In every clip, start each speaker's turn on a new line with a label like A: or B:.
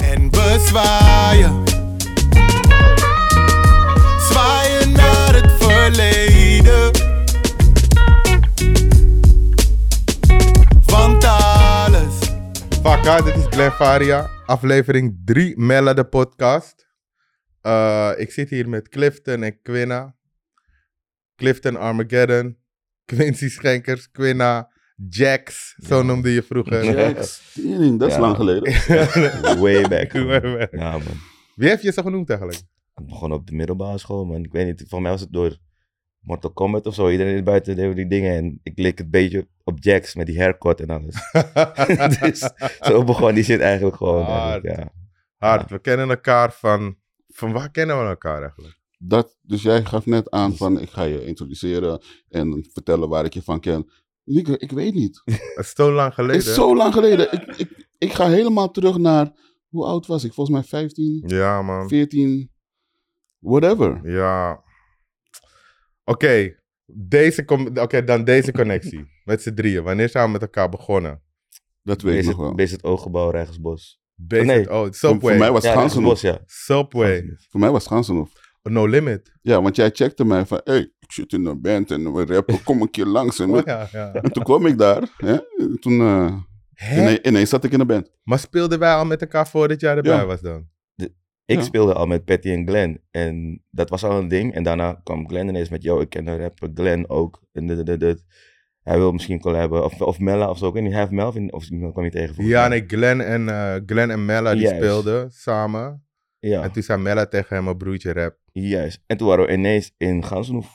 A: we zwaaien. Zwaaien naar het verleden. Want alles.
B: Fakka, dit is Glenn Faria, aflevering 3 Mella de podcast. Eh, ik zit hier met Clifton en Quinna. Clifton Armageddon, Quincy Schenkers, Quinna, Jax, zo noemde je vroeger.
C: Jax, tering, dat is
D: Ja.
C: lang geleden.
D: Way back. man.
B: Way back.
D: Ja, man.
B: Wie heeft je zo genoemd eigenlijk?
D: Ik begon op de middelbare school, man. Ik weet niet, volgens mij was het door Mortal Kombat of zo. Iedereen in het buiten deed die dingen en ik leek het beetje op Jax met die haircut en alles. dus zo begon die shit eigenlijk gewoon.
B: Hard.
D: eigenlijk, ja.
B: Hard, we kennen elkaar van... Van waar kennen we elkaar eigenlijk?
C: Dat, dus jij gaf net aan van, ik ga je introduceren en vertellen waar ik je van ken. Nieke, ik weet niet. Het
B: Het is zo lang geleden.
C: is zo lang geleden. Ik, ik, ik ga helemaal terug naar, hoe oud was ik? Volgens mij 15,
B: Ja man.
C: 14, whatever.
B: Ja. Oké, deze com- oké, dan deze connectie. Met z'n drieën. Wanneer zijn we met elkaar begonnen?
C: Dat weet ik
D: Beest
C: nog
D: het,
C: wel.
D: Beest het Oogbouw, Rijgersbos.
B: Based,
D: Nee.
B: Oh,
C: Voor,
B: Subway.
C: voor mij was
D: Ja, Rijgersbos,
C: Gansenhof.
D: ja.
B: Subway.
C: Voor mij was Gansenhof.
B: No Limit.
C: Ja, want jij checkte mij van, hey, ik zit in een band en we rappen, kom een keer langs. En,
B: Oh, ja, ja.
C: en toen kwam ik daar. Hè? en Toen, eh,
B: Hè?
C: ine- ineens zat ik in een band.
B: Maar speelden wij al met elkaar voordat jij erbij
C: Ja.
B: was dan?
D: Ik
C: Ja.
D: speelde al met Patty en Glenn. En dat was al een ding. En daarna kwam Glenn ineens met, yo, ik ken de rapper Glenn ook. En dit, dit, dit, dit. Hij wil misschien collaben. Of, of Mella of zo. Ik weet niet, hij heeft Melvin. Of iemand kwam niet tegen. volgens
B: Ja,
D: mij.
B: nee, Glenn en, eh, Glenn en Mella die
D: Juist.
B: speelden samen.
D: Ja,
B: En toen zei Mella tegen hem, mijn broertje rap.
D: juist. En toen waren we ineens in Gansnoef.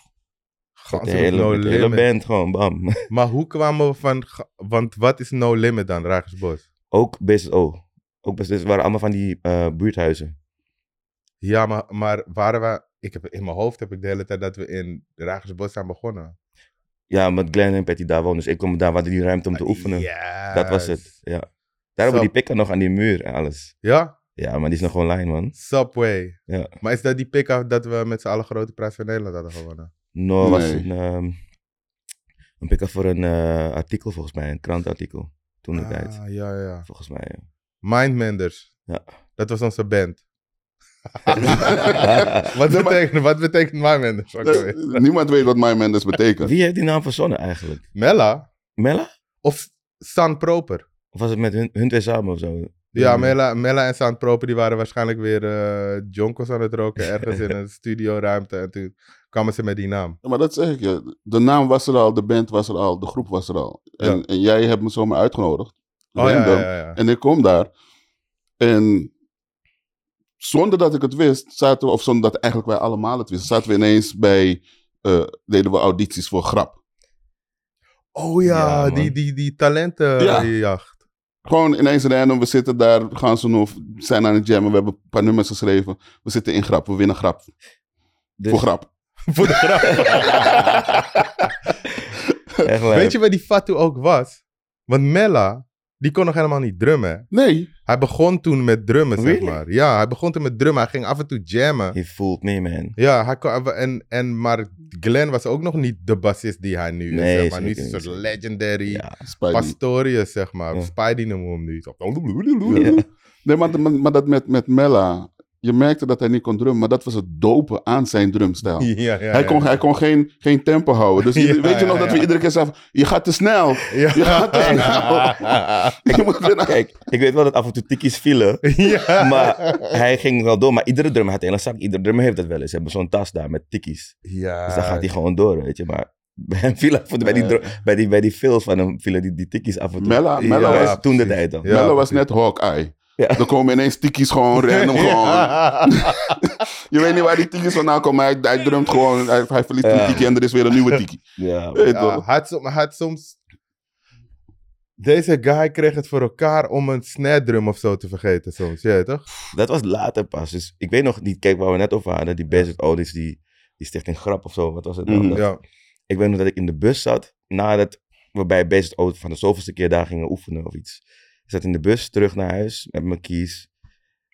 B: Gans
D: de hele,
B: No
D: met de hele
B: Limit.
D: band gewoon, bam.
B: Maar hoe kwamen we van... ga- Want wat is No Limit dan, Ragersbos?
D: ook BSO. Ook best, dus het waren allemaal van die eh, buurthuizen.
B: Ja, maar, maar waren we... Ik heb, in mijn hoofd heb ik de hele tijd dat we in Ragersbos zijn begonnen.
D: Ja, met Glenn en Patty daar woonden. Dus ik kom daar, waar die ruimte
B: Ah,
D: om te oefenen. Dat was het, ja. Daar hebben
B: Zo.
D: we die pikken nog aan die muur en alles.
B: Ja,
D: Ja, maar die is nog online, man.
B: Subway.
D: Ja.
B: Maar is dat die pick-up dat we met z'n allen grote prijs van Nederland hadden gewonnen?
D: No, was
C: Nee.
D: een, ehm een pick-up voor een eh, artikel volgens mij, een krantartikel. Toen de tijd,
B: Ah, ja, ja.
D: volgens mij. ja.
B: Mindmenders.
D: Ja.
B: Dat was onze band.
D: Ja.
B: Wat betekent, wat betekent Mindmenders? ook
C: Dus
B: alweer?
C: niemand weet wat My Mendes betekent.
D: Wie heeft die naam verzonnen eigenlijk?
B: Mella?
D: Mella?
B: Of San Proper?
D: Of was het met hun, hun twee samen of zo? Dus
B: Ja, Mella, Mella en San Proper die waren waarschijnlijk weer eh jonkels aan het roken ergens in een studioruimte. En toen kwamen ze met die naam.
C: Ja, maar dat zeg ik je. De naam was er al, de band was er al, de groep was er al. En,
B: Ja.
C: en jij hebt me zomaar uitgenodigd.
B: Oh ja,
C: random.
B: ja, ja.
C: En ik kom daar. En zonder dat ik het wist, zaten we, of zonder dat eigenlijk wij allemaal het wisten, zaten we ineens bij, eh, deden we audities voor grap.
B: Oh ja,
D: Ja, man.
B: die, die, die talentenjacht.
C: Gewoon ineens random, we zitten daar, gaan ze nog, zijn aan het jammen, we hebben een paar nummers geschreven. We zitten in grap, we winnen grap,
D: Dus-
C: voor grap.
B: Voor de grap.
D: Echt leuk.
B: Weet je waar die Fatu ook was? Want Mella, die kon nog helemaal niet drummen.
C: Nee,
B: Hij begon toen met drummen, zeg
D: Really?
B: maar. Ja, hij begon toen met drummen. Hij ging af en toe jammen.
D: Je voelt me, man.
B: Ja, hij kon, en, en, maar Glenn was ook nog niet de bassist die hij nu is.
D: Nee,
B: zeg maar. Nu is hij een
D: zeker
B: soort
D: niet.
B: legendary
D: Ja.
C: Spidey.
B: Pastorius, zeg maar.
D: Ja.
B: Spidey noemen we hem nu.
D: Ja.
C: Nee, maar, maar, maar dat met, met Mella, je merkte dat hij niet kon drummen, maar dat was het dopen aan zijn drumstijl.
B: Ja, ja,
C: hij kon, hij kon geen, geen tempo houden. Dus ieder-
B: Ja,
C: weet je nog
B: ja,
C: dat we
B: ja.
C: iedere keer zeiden: van, je gaat te snel.
B: Ja.
C: Je gaat te
B: Ja.
C: snel. Je moet weer naar-
D: Kijk, ik weet wel dat af en toe tikkies vielen.
B: Ja.
D: Maar hij ging wel door. Maar iedere drummer had een hele zak. Iedere drummer heeft dat wel eens. Ze hebben zo'n tas daar met tikkies.
B: Ah, Ja.
D: Dus dan gaat hij gewoon door, weet je. Maar bij hem viel af en toe, bij die, drum- bij die, bij die fills van hem vielen die, die tikkies af en toe.
C: Mella,
B: Ja.
C: Mella,
D: Dat
C: was,
D: was toen de
B: precies.
D: tijd dan.
B: Ja.
C: Mella was
B: precies.
C: net Hawkeye.
D: Ja.
C: Dan komen ineens tikkies gewoon random. Gewoon. Je weet niet waar die tikkies vandaan komen, maar hij, hij drumt gewoon. Hij, hij verliest
D: Ja.
C: een tikkie en er is weer een nieuwe tikkie.
D: Ja,
C: Weet je
B: Ja,
C: toch?
B: hij had, som- hij had soms. Deze guy kreeg het voor elkaar om een snare drum of zo te vergeten soms, je weet toch?
D: dat was later pas. Dus ik weet nog niet, kijk waar we net over hadden. Die Basic Audits, die, die stichting Grap of zo. Wat was het nou?
C: Mhm.
D: Dat-
B: Ja.
D: Ik weet nog dat ik in de bus zat, nadat we bij Basic Auto van de zoveelste keer daar gingen oefenen of iets. Ik zat in de bus, terug naar huis, met mijn keys.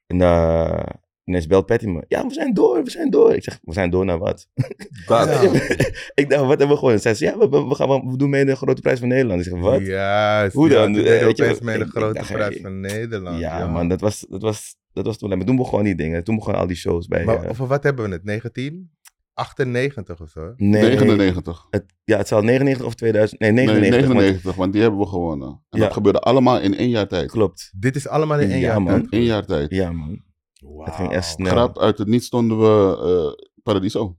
D: En eh, ineens belt Patty me. Ja, we zijn door, we zijn door. Ik zeg, we zijn door naar wat?
B: Ja.
D: ik dacht, wat hebben we gewoon? Zij zei, ja, we, we- we gaan, we doen mee in de grote prijs van Nederland. Ik zeg, wat?
B: Juist.
D: Hoe
B: ja,
D: dan?
B: die
D: Eh,
B: deed
D: weet je,
B: opeens mee
D: ik-
B: de
D: ik
B: grote
D: dacht, eh,
B: prijs
D: hey.
B: van Nederland.
D: Ja, man, dat was, dat was dat was toen. En toen begon die dingen. Toen begonnen al die shows bij...
B: Maar
D: eh,
B: over wat hebben we het? 1998 of zo?
D: nee,
C: 99.
D: Het, ja, het zal 99 of 2000... Nee,
C: Nee,
D: 99.
C: 99,
D: want-
C: want die hebben we gewonnen. En
D: Ja.
C: dat gebeurde allemaal in één jaar tijd.
D: Klopt.
B: Dit is allemaal in één
D: Ja,
B: jaar
D: man.
B: tijd.
C: Eén jaar tijd.
D: Ja, man. Het ging echt snel.
C: Grap, uit het niet stonden we eh, Paradiso.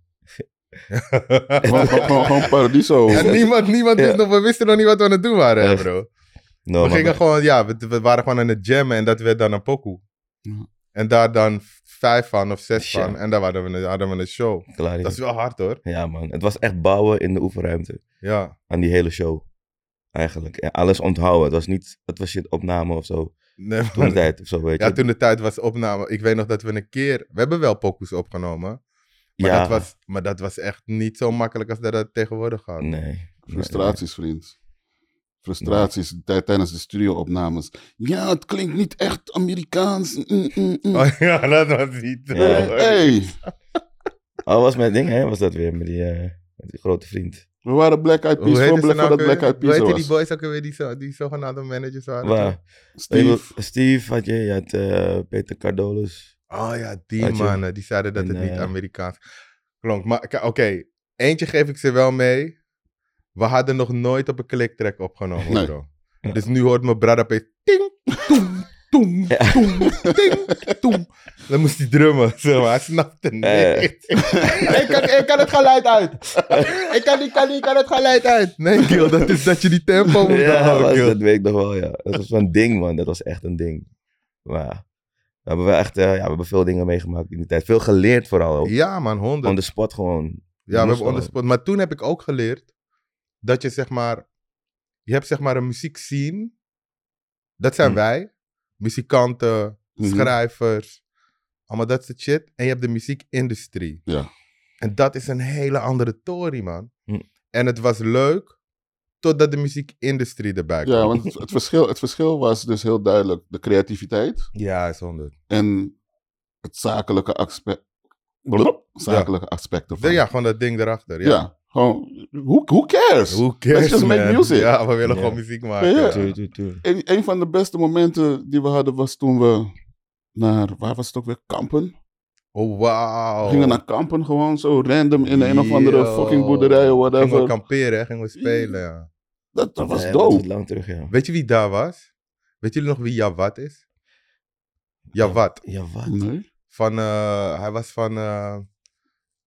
C: gewoon, gewoon- gewoon Paradiso.
B: Ja, niemand, niemand
D: Ja.
B: wist nog, we wisten nog niet wat we aan het doen waren, hè,
D: Echt.
B: bro.
D: No,
B: We
D: Oh, maar-
B: gingen gewoon, ja, we, we waren gewoon aan het jammen en dat werd dan een pokoe.
C: Ja.
B: En daar dan v- vijf van of zes
D: Tja.
B: van en daar hadden we, een- hadden we een show.
D: Klaar, ja.
B: Dat is wel hard hoor.
D: Ja, man. Het was echt bouwen in de oefenruimte.
B: Ja,
D: Aan die hele show. Eigenlijk. En alles onthouden. Het was niet... Het was shit opname of zo.
B: nee,
D: Toen de
B: maar-
D: tijd of zo, weet je.
B: ja toen de tijd was opname. Ik weet nog dat we een keer, we hebben wel pokoes opgenomen. Maar,
D: Ja.
B: dat was, maar dat was echt niet zo makkelijk als dat het tegenwoordig gaat.
D: Nee.
C: Frustraties, vriend. Frustraties tij- tijdens de studio-opnames. Ja, het klinkt niet echt Amerikaans. Mm, mm, mm.
B: Oh ja, dat was niet.
D: Ja.
C: Eh, hey,
D: Oh, was mijn ding, hè? Was dat weer met die, eh, met die grote vriend?
C: we waren Black Eyed Peas.
B: Hoe heette
C: Voor
B: ze
C: Black,
B: nou ook
C: voordat
B: weer?
C: Black Eyed
B: Hoe
C: Peas er
B: heette die
C: was.
B: boys ook weer die, zo, die zogenaamde managers waren?
D: Waar?
C: Steve.
D: Steve had je, je had eh, Peter Cardolos.
B: Oh ja, die
D: Weet je?
B: mannen, die zeiden dat
D: En,
B: het niet
D: eh,
B: Amerikaans klonk. Maar k- oké, eentje geef ik ze wel mee. We hadden nog nooit op een kliktrek opgenomen,
C: Nee.
B: bro.
D: Ja.
B: Dus nu hoort mijn brad opeens... Ting, toem, toem,
D: Ja.
B: toem, ting, toem. Dan moest hij drummen, zeg maar. Hij snapte niet.
D: ja.
B: ik, kan, ik kan het geluid uit. ik, kan, ik, kan, ik kan het geluid uit. Nee, Gil, dat is Oh, dat je die tempo moet
D: Ja,
B: houden,
D: was,
B: Gil.
D: dat weet ik nog wel, ja. Dat was zo'n ding, man. Dat was echt een ding. Maar we hebben wel echt, eh, ja, we hebben veel dingen meegemaakt in die tijd. Veel geleerd vooral ook.
B: Ja, man,
D: On
B: honderd.
D: the spot gewoon.
B: Ja, we
D: moest
B: hebben on the
D: wel.
B: spot. Maar toen heb ik ook geleerd dat je zeg maar, je hebt zeg maar een muziekscene. Dat zijn
D: Hm.
B: wij, muzikanten,
C: Mhm.
B: schrijvers, allemaal dat soort shit. En je hebt de muziekindustrie.
C: Ja.
B: En dat is een hele andere tory, man.
D: Hm.
B: En het was leuk totdat de muziekindustrie erbij kwam.
C: Ja, want het- het verschil, het verschil was dus heel duidelijk de creativiteit
B: Ja, is honderd.
C: en het zakelijke aspect. Blop, zakelijke aspect ervan.
B: Ja, gewoon dat ding erachter. Ja.
C: Ja, gewoon, who, who cares?
B: Who cares,
C: Let's just make
B: man?
C: music.
B: Ja, we willen
D: Ja.
B: gewoon muziek maken.
C: Ja.
D: Tuur, tuur, tuur.
C: Een, een van de beste momenten die we hadden was toen we naar, waar was het ook weer, Kampen?
B: Oh,
C: We
B: wauw.
C: gingen naar Kampen gewoon zo random in een of andere
B: Yo.
C: fucking boerderij of
B: Gingen we
C: whatever.
B: kamperen, hè? gingen we spelen. Ja.
C: Dat, dat was
D: Ja, Dat is
C: dope.
D: lang terug, ja.
B: Weet je wie daar was? Weet jullie nog wie Jawad is? Jawad.
D: Ja, wat?
C: Nee?
B: Van, eh, hij was van, eh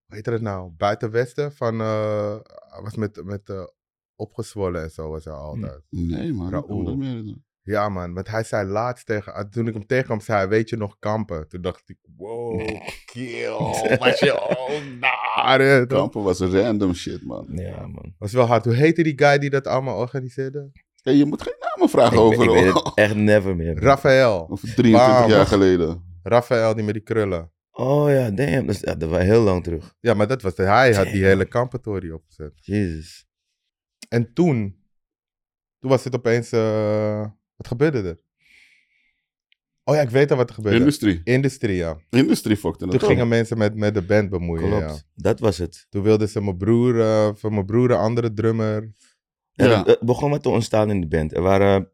B: hoe heet dat nou? Buitenwesten. Van, eh, hij was met, met eh, opgezwollen en zo was hij altijd.
C: Nee man.
B: Raoul.
C: ik kan me dat niet herinneren.
B: Ja man, want hij zei laatst tegen, ah, toen ik hem tegenkwam, zei hij, weet je nog kampen? Toen dacht ik, wow, kill, was je al naar hè, toch?
C: Kampen was random shit man.
D: Ja, man.
B: was wel hard. Hoe heette die guy die dat allemaal organiseerde?
C: Hey, je moet geen namen vragen
D: Ik,
C: over,
D: ik weet het echt never meer. man.
B: Raphaël.
C: over 23
B: Bam.
C: jaar geleden.
B: Raphaël, die met die krullen.
D: Oh ja, damn. Dat is dat was heel lang terug.
B: Ja, maar dat was, hij had die
D: Damn.
B: hele kampentory opgezet.
D: Jezus.
B: En toen, toen was het opeens, eh, wat gebeurde er? Oh ja, ik weet al wat er gebeurde.
C: Industrie.
B: Industrie, ja.
C: Industrie fokte
B: Toen
C: het
B: gingen
C: op.
B: mensen met, met de band bemoeien.
D: Klopt.
B: Oh, Ja.
D: Dat was het.
B: Toen wilden ze mijn broer, eh van mijn broer een andere drummer.
D: Ja.
C: Ja.
D: Het het begon wat te ontstaan in de band. Er waren...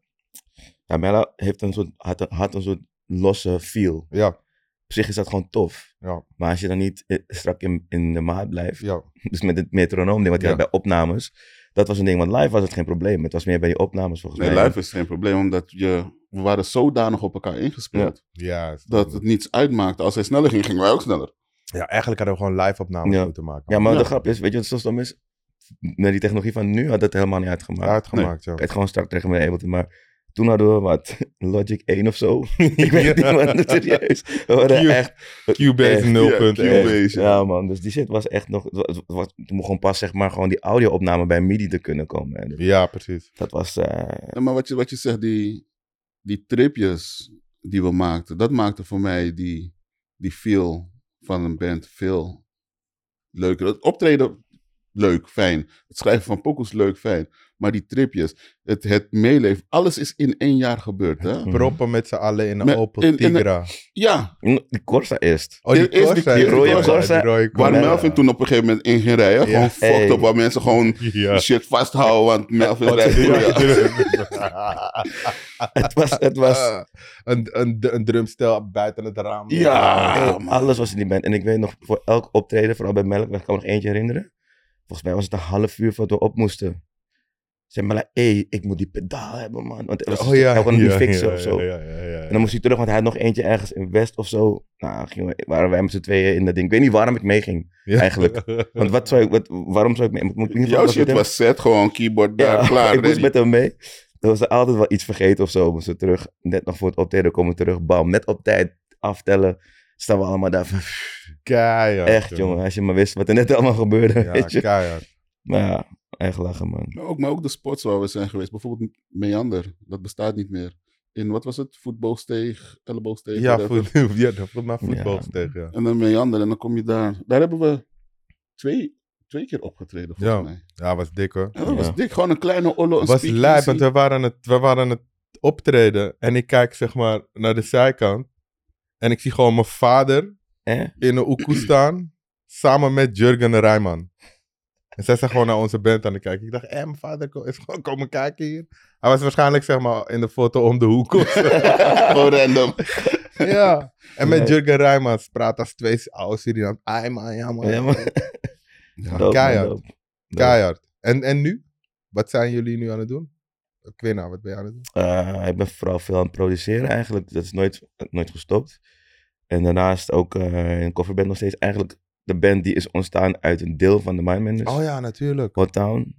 D: Ja, Mella heeft een soort, had, een- had een soort losse feel.
B: Ja,
D: Op zich is dat gewoon tof.
B: Ja.
D: Maar als je dan niet eh, strak in, in de maat blijft...
B: ja.
D: Dus met het metronoom ding wat je
B: Ja.
D: had bij opnames. Dat was een ding, want live was het geen probleem. Het was meer bij die opnames volgens
C: Nee,
D: mij.
C: live is geen probleem, omdat je, we waren zodanig op elkaar ingespeeld.
B: Ja, is
C: Dat
B: goed.
C: het niets uitmaakte. Als hij sneller ging, gingen wij ook sneller.
B: ja, eigenlijk hadden we gewoon live-opnames
D: Ja.
B: moeten maken.
D: Ja, maar
C: Ja.
D: de grap is, weet je wat zo stom is? Met die technologie van nu had dat helemaal niet uitgemaakt.
B: Uitgemaakt,
D: Ik
B: ja.
D: had gewoon strak tegen mijn Ableton, maar... Toen hadden we wat, Logic 1 of zo. Ik weet het niet, man, serieus. We hadden
B: Q-
D: echt
B: Cubase
D: Echt,
B: 0.1.
C: ja, Cubase.
D: Echt, Ja, man. Dus die shit was echt nog. Het wa- het was, toen begon pas, zeg maar, gewoon die audio-opname bij MIDI te kunnen komen. En
B: Ja, precies.
D: dat was. eh,
C: Ja, maar wat je, wat je zegt, die, die tripjes die we maakten, dat maakte voor mij die, die feel van een band veel leuker. Het optreden leuk, fijn. Het schrijven van pokkels, leuk, fijn. Maar die tripjes, het, het meeleven, alles is in één jaar gebeurd. Hè?
D: Mhm.
B: Proppen met z'n allen in een
C: Met-
B: Opel
C: in- in een-
B: Tigra.
C: Ja,
D: Die Corsa eerst.
B: Oh, die
C: Dit is die-
B: Corsa.
C: die rode
B: ja,
D: Corsa.
B: die rode
C: waar
D: Ja.
C: Melvin toen op een gegeven moment in ging rijden.
B: Ja.
C: Gewoon fucked
D: Hey.
C: up, waar mensen gewoon
B: Ja.
C: shit vasthouden, want Melvin
B: Wat ze
C: rijdt.
B: doen,
C: door, ja.
B: ja.
D: Het was, het was
B: Eh, een, een, een drumstel buiten het raam.
C: Ja,
D: eh,
C: man.
D: alles was in die band. En ik weet nog, voor elk optreden, vooral bij Melkweg, kan ik me nog eentje herinneren. Volgens mij was het een half uur voordat we op moesten. Zeg maar, hé, hey, ik moet die pedaal hebben, man. Want het was
B: Oh ja,
D: hij kon het
B: ja,
D: niet fixen
B: ja,
D: of zo.
B: ja, ja, ja, ja.
D: En dan moest hij terug, want hij had nog eentje ergens in West of zo. Nou, gingen we- waren wij met z'n tweeën in dat ding. Ik weet niet waarom ik meeging,
B: Ja.
D: eigenlijk. Want wat zou ik, wat, waarom zou ik mee? Ik moet in ieder geval
C: Jouw
D: was met
C: shit
D: hem-
C: was set, gewoon keyboard daar,
D: ja,
C: klaar.
D: ik moest
C: ready.
D: met hem mee. Er was er altijd wel iets vergeten of zo. Moesten we terug, net nog voor het optreden komen we terug. Bam, net op tijd aftellen. Staan we allemaal daar van,
B: Keihard,
D: echt jongen, als je maar wist wat er net allemaal gebeurde.
B: Ja,
D: weet je.
B: keihard.
D: Maar ja, echt lachen man.
C: Maar ook, maar ook de sports waar we zijn geweest. Bijvoorbeeld Meander, dat bestaat niet meer. In wat was het? Voetbalsteeg, elleboogsteeg.
B: Ja,
C: whatever.
B: voet, ja, dat voelt maar voetbalsteeg, ja.
C: En dan Meander en dan kom je daar. Daar hebben we twee, twee keer opgetreden volgens
B: Ja.
C: mij.
B: Ja, was dik hoor.
C: En dat
D: Ja.
C: was dik, gewoon een kleine ollo. Een
B: was
C: speakeasy.
B: lijp, want we waren, het, we waren het optreden. En ik kijk zeg maar naar de zijkant. En ik zie gewoon mijn vader
D: Eh?
B: in een oekoe staan. Samen met Jurgen Rijman. En zij zijn gewoon naar onze band aan het kijken. Ik dacht, eh, mijn vader ko- is gewoon komen kijken hier. Hij was waarschijnlijk zeg maar in de foto om de hoek. of zo.
C: Gewoon random.
B: ja. En met
D: Nee.
B: Jurgen Rijman praat als twee oude Surinaam. Ai man, ja man.
D: Ja, man.
C: Ja.
D: Dope,
B: keihard.
D: man, dope.
B: Keihard. En, en nu? Wat zijn jullie nu aan het doen? Ik weet nou, wat ben je aan het doen?
D: Eh, ik ben vooral veel aan het produceren eigenlijk. Dat is nooit, nooit gestopt. En daarnaast ook eh een coverband nog steeds. Eigenlijk de band die is ontstaan uit een deel van de Mindmenders.
B: Oh ja, natuurlijk.
D: Hot Town.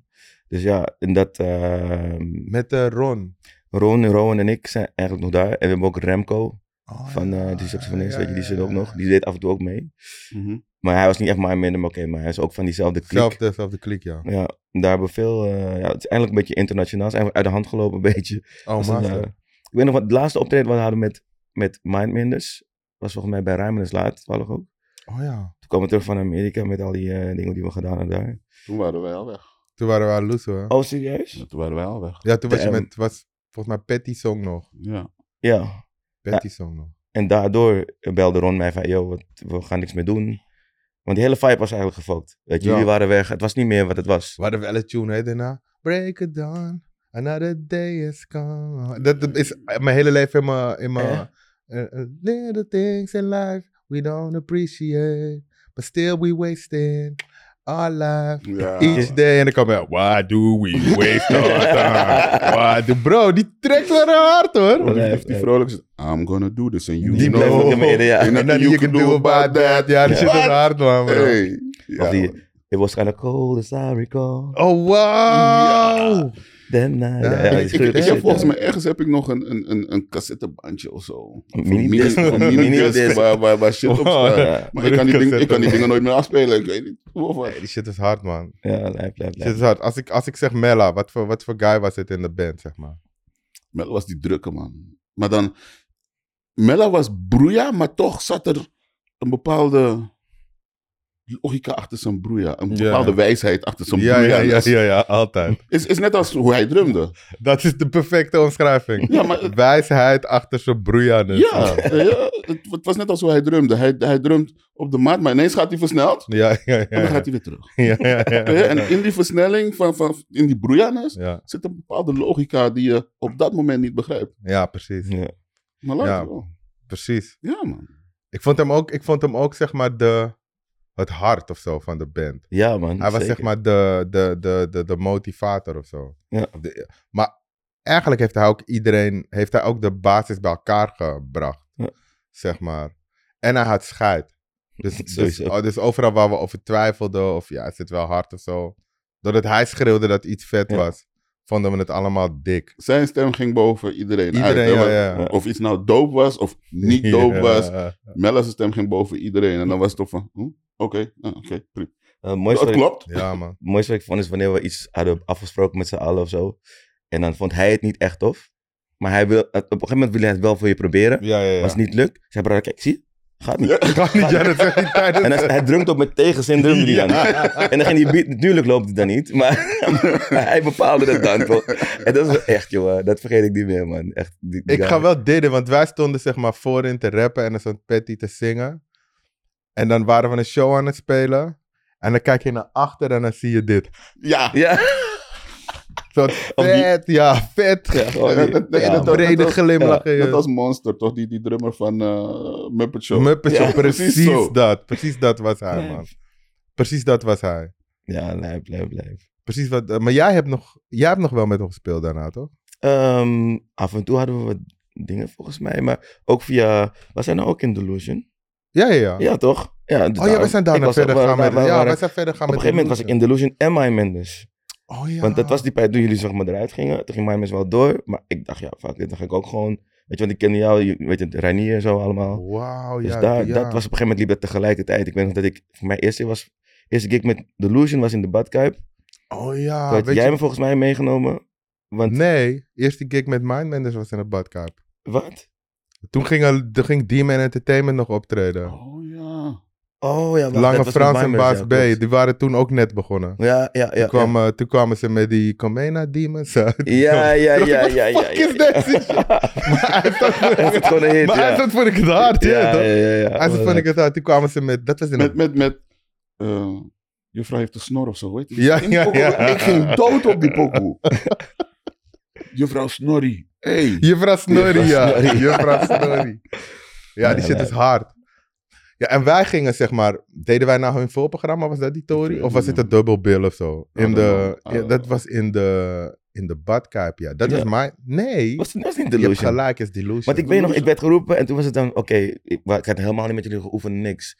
D: Dus ja, en dat... eh,
B: Met eh, Ron.
D: Ron, Rowan en ik zijn eigenlijk nog daar. En we hebben ook Remco
B: Oh,
D: van
B: ja,
D: eh die saxofonist,
B: ja,
D: weet je, die
B: ja,
D: zit ook
B: ja,
D: nog.
B: ja.
D: Die deed af en toe ook mee.
C: Mhm.
D: Maar hij was niet echt mijn minder, maar oké, maar hij is ook van diezelfde klik.
B: Zelfde, zelfde klik, ja.
D: Ja, en daar hebben we veel, eh, ja, het is eigenlijk een beetje internationaal, het is eigenlijk uit de hand gelopen een beetje.
B: Oh,
D: Dus dan,
B: master.
D: eh, ik weet nog wat, het laatste optreden wat we hadden met, met Mindminders, was volgens mij bij Rijmenes Laat, toevallig ook.
B: Oh ja.
D: Toen kwamen we terug van Amerika met al die eh, dingen die we gedaan hebben daar.
C: Toen waren wij al weg.
B: Toen waren we aan Loes, hoor.
D: Oh, serieus?
C: Ja, toen waren wij al weg.
B: Ja, toen was je
D: Damn.
B: met, was volgens mij Patty Song nog.
C: Ja.
D: Ja,
B: Patty Song nog.
D: En daardoor belde Ron mij van, yo, wat- we gaan niks meer doen. Want die hele vibe was eigenlijk gefokt. Weet je,
B: Ja.
D: jullie waren weg. Het was niet meer wat het was.
B: We hadden wel een tune, hè, daarna. Break it down, another day is gone. Dat is mijn hele leven in mijn... In mijn
D: Eh?
B: eh, eh, little things in life we don't appreciate. But still we wasting our life.
C: ja.
B: Each day. En dan kwam hij, why do we waste our time? Why do... Bro, die trekt wel hard, hoor.
C: Oh, die- die- die vrolijk is, I'm gonna do this and you
D: Die
C: know.
D: blijft ook in midden, ja.
C: And
B: En dan
C: nothing
B: you can do about that. Ja, die zit
C: What?
B: er hard, man, bro.
C: Hey. Ja,
D: Of die,
C: man.
D: it was kind of cold as I recall.
B: Oh, wow.
D: Then I... Ja,
B: Ja,
D: ja, die
C: ik, ik,
D: schreeuwt-
C: ik heb
D: schreeuwt,
C: volgens
D: ja.
C: mij ergens heb ik nog een, een, een, een cassettebandje of zo.
D: Een minidisc.
C: Van
D: Een
C: minidisc,
D: minidisc.
C: waar, waar, waar shit op
B: Wow.
C: staat.
D: Ja,
C: Maar ik kan, die ding, ik kan die dingen nooit meer afspelen. Ik weet niet hoe of wat.
B: Die shit is hard, man.
D: ja, lijp, lijp,
B: Die shit
D: lijp.
B: is hard. Als ik, als ik zeg Mella, wat voor, wat voor guy was het in de band, zeg maar?
C: Mella was die drukke man. Maar dan, Mella was broeia, maar toch zat er een bepaalde logica achter zijn broeia. Een
B: Ja.
C: bepaalde wijsheid achter zijn
B: Ja,
C: broeia.
B: ja, ja,
C: Het
B: ja, ja, altijd.
C: Is, is net als hoe hij drumde.
B: Dat is de perfecte omschrijving.
C: Ja, maar-
B: Wijsheid achter zijn broeianus.
C: Ja, ja, het, het was net als hoe hij drumde. Hij, hij drumt op de maat, maar ineens gaat hij versneld.
B: Ja, ja,
C: En dan
B: ja.
C: gaat hij weer terug.
B: Ja, ja,
C: Ja,
B: ja.
C: En in die versnelling, van, van, in die broeianis,
B: Ja,
C: zit een bepaalde logica die je op dat moment niet begrijpt.
B: ja, precies.
D: Ja.
C: Maar later
B: Ja.
C: wel.
B: Precies.
C: Ja, man.
B: Ik vond hem ook, ik vond hem ook zeg maar de, het hart of zo van de band.
D: Ja, man.
B: Hij was
D: zeker.
B: zeg maar de, de, de, de, de motivator of zo.
D: Ja.
B: De- maar eigenlijk heeft hij ook iedereen, heeft hij ook de basis bij elkaar gebracht.
D: Ja.
B: Zeg maar. En hij had scheid. Dus, dus,
D: Sowieso.
B: oh, dus overal waar we over twijfelden, of ja, is het wel hard of zo. Doordat hij schreeuwde dat iets vet
D: Ja.
B: was, vonden we het allemaal dik.
C: Zijn stem ging boven iedereen, uit.
B: Iedereen,
C: hè,
B: ja,
C: want
B: ja.
C: Of iets nou dope was of niet dope
B: Ja.
C: was. Mella's stem ging boven iedereen. En dan was het toch van, hm, oké, ah, oké, prima.
D: Eh, het mooiste
C: Dat
D: wat ik-
C: klopt.
B: Ja, man.
D: het mooiste wat ik vond is wanneer we iets hadden afgesproken met z'n allen of zo. En dan vond hij het niet echt tof. Maar hij wil, op een gegeven moment wil hij het wel voor je proberen.
B: Ja, ja, ja.
D: Als het niet lukt, zei Brada, kijk, zie je? Gaat niet.
B: Ga niet, ja, dat zeg je tijdens...
D: En hij, hij drumt op met tegenzin, drumde hij dan. En dan ging die beat, natuurlijk loopt het dan niet, maar, maar hij bepaalde dat dan toch. En dat is echt, jongen, dat vergeet ik niet meer, man. Echt, die- die
B: Ik
D: guy.
B: ga wel didden, want wij stonden zeg maar voorin te rappen en dan stond Patty te zingen. En dan waren we een show aan het spelen. En dan kijk je naar achter en dan zie je dit.
C: Ja.
D: Ja,
B: Zo
D: Of die-
B: vet, ja, vet.
D: ja, gewoon
C: Ja,
D: die-
C: dat- nee,
D: ja,
C: dat-
D: man.
B: brede
C: was-
B: glimlach.
C: Dat
B: Ja,
C: was Monster, toch? Die, die drummer van eh Muppet Show.
B: Muppet Show,
D: Ja,
B: precies,
C: precies zo.
B: dat. Precies dat was hij,
D: Ja.
B: man. Precies dat was hij.
D: ja, lijp, lijp, lijp.
B: Precies wat, eh, maar jij hebt, nog, jij hebt nog wel met hem gespeeld daarna, toch?
D: Ehm, af en toe hadden we wat dingen volgens mij, maar ook via... Was hij nou ook in Delusion?
B: Ja, ja, ja.
D: Ja, toch? Ja,
B: oh ja, we zijn daarna verder gaan met... ja, we
D: op
B: zijn verder gaan
D: een
B: met...
D: gegeven moment was ik in Delusion en My Mendes.
B: Oh ja.
D: Want dat was die tijd toen jullie zeg maar eruit gingen. Toen ging mijn mensen wel door. Maar ik dacht, ja, fuck dit, dan ga ik ook gewoon... Weet je, want ik kende jou, je- weet je, Reinier en zo allemaal.
B: Wauw,
D: Dus
B: Oh, ja.
D: daar,
B: ja.
D: dat was op een gegeven moment liep dat tegelijkertijd. Ik weet nog dat ik, voor mijn eerste, was, eerste gig met Delusion was in de Badkuip.
B: Oh
D: Toen
B: ja,
D: had
B: weet
D: jij
B: je...
D: me volgens mij meegenomen. Want,
B: Nee, eerste gig met Mindmenders was in het badkuip.
D: wat?
B: Toen ging, er- toen ging Demon Entertainment nog optreden.
C: Oh ja.
D: Oh ja, wacht, dat
B: Lange
D: was
B: Frans
D: met
B: en
D: My
B: Baas
D: Mendes,
B: B,
D: ja, klopt.
B: die waren toen ook net begonnen.
D: Ja, ja, ja.
B: toen, kwam, eh, toen kwamen ze met die Comena Demons uit.
D: Ja, ja,
B: Toen dacht ik,
D: ja,
B: what the
D: ja, ja.
B: fuck
D: ja,
B: is
D: ja.
B: dit?
D: Hij heeft het gewoon een hit,
B: Maar
D: ja.
B: hij zat voor ik het hard, ja.
D: ja,
B: toch?
D: ja, ja, ja.
B: Hij zat voor ik het hard. Toen kwamen ze met, dat was in
C: Met,
B: een...
C: met, met eh, juffrouw heeft een snor of zo, weet je?
B: Ja,
C: In
B: ja,
C: pokoe,
B: ja.
C: Ik ging dood op die pokoe. juffrouw Snorri. Hey.
B: Juffrouw Snorri, ja.
D: Snorri.
B: Juffrouw Snorri. Ja,
D: Nee,
B: die shit
D: nee.
B: is hard. Ja, en wij gingen zeg maar, deden wij nou hun voorprogramma, was dat die
C: weet
B: Tory?
C: het
B: Of was
C: niet
B: het een double bill of zo?
D: Oh,
B: In
C: dat
B: de,
C: wel.
B: ja,
C: Ah.
B: dat was in de, in de badkuip, ja. Dat
D: Ja.
B: is mijn, nee.
D: Was het was niet
B: Je hebt
D: delusion.
B: gelijk, is delusion.
D: Want ik weet nog, ik werd geroepen en toen was het dan, oké, ik, maar ik had helemaal niet met jullie geoefend, niks.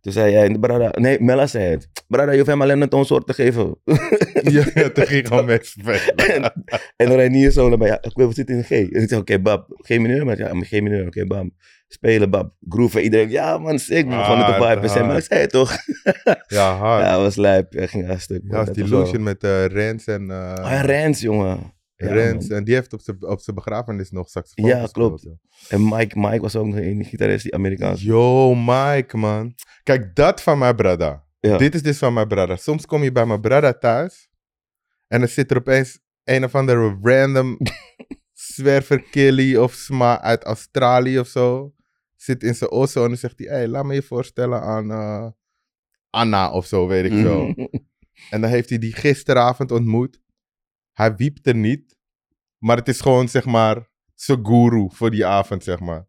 D: Toen zei jij, brada, nee, Mella zei het. Brada, je hoeft hem alleen een toonsoort te geven.
B: Ja, ja, toen ging ik al mee spelen.
D: en, en dan hier zo naar mij, ja, ik wil zitten in G. En ik zei, oké, bab, G mineur? Maar ja, maar G mineur, oké, bam. Spelen, bab, groeven. Iedereen, ja man, sick, man. Gewoon net de
B: Ah,
D: vibe. En zei,
B: ah.
D: maar ik zei het toch?
B: Ja, hard.
D: Ja,
B: Ja,
D: het was lijp. Hij ging aan stuk. man.
B: was
D: Dat
B: delusion
D: wel-
B: met eh Rens en... eh,
D: Oh, ja, Rens, jongen. Ja,
B: Rens.
D: man.
B: En die heeft op zijn- op zijn begrafenis nog saxofoon
D: Ja,
B: gespeeld,
D: klopt.
B: joh.
D: En Mike, Mike was ook nog een gitarist, die Amerikaans.
B: Yo, Mike, man. Kijk, dat van mijn brada.
D: Ja.
B: Dit is dus van mijn brada. Soms kom je bij mijn brada thuis en dan zit er opeens een of andere random zwerver Killy of Sma uit Australië of zo. Zit in zijn osso en dan zegt hij, hey, laat me je voorstellen aan eh, Anna of zo, weet ik
D: Mhm.
B: veel. En dan heeft hij die gisteravond ontmoet. Hij wiepte niet. Maar het is gewoon, zeg maar, zijn guru voor die avond, zeg maar.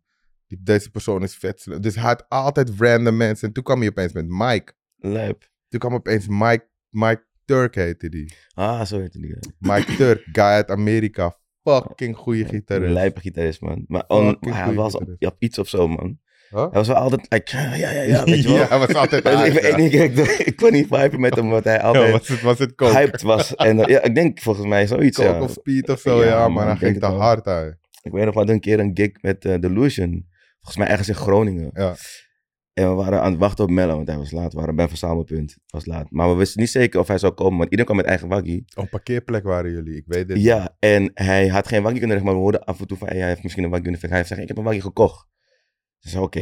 B: Die, deze persoon is vet. slim. Dus hij had altijd random mensen. En toen kwam hij opeens met Mike.
D: Lijp.
B: Toen kwam opeens Mike, Mike Turk heette die.
D: Ah, zo heette die. ja.
B: Mike Turk, guy uit Amerika. Fucking goede gitarist.
D: Lijpe gitarist, man. Maar on-
B: Fucking
D: hij
B: goeie
D: was op,
B: gitarist.
D: ja, op iets of zo, man.
B: Huh?
D: Hij was wel altijd, like, ja, ja, ja, ja, weet je wel.
B: Ja, hij was altijd
D: Dus ik,
B: hard,
D: weet
B: ja.
D: niet, ik, ik, ik kon niet viben met hem, want hij
B: Ja,
D: altijd
B: was het, was het coke?
D: hyped was. En, eh, ja, ik denk volgens mij zoiets,
B: Coke
D: ja.
B: of speed of zo,
D: Ja,
B: ja,
D: man,
B: maar hij
D: ik denk
B: ging te
D: het wel.
B: hard uit.
D: Ik weet nog wel een keer een gig met eh, Delusion. Volgens mij ergens in Groningen.
B: Ja.
D: En we waren aan het wachten op Mello, want hij was laat. We waren bij een verzamelpunt. Het was laat. Maar we wisten niet zeker of hij zou komen, want iedereen kwam met eigen waggie.
B: Op parkeerplek waren jullie, ik weet het.
D: Ja, en hij had geen waggie kunnen regelen, maar we hoorden af en toe van, hey, hij heeft misschien een waggie kunnen fixen. Hij heeft gezegd, ik heb een waggie gekocht. Ze zei, oké,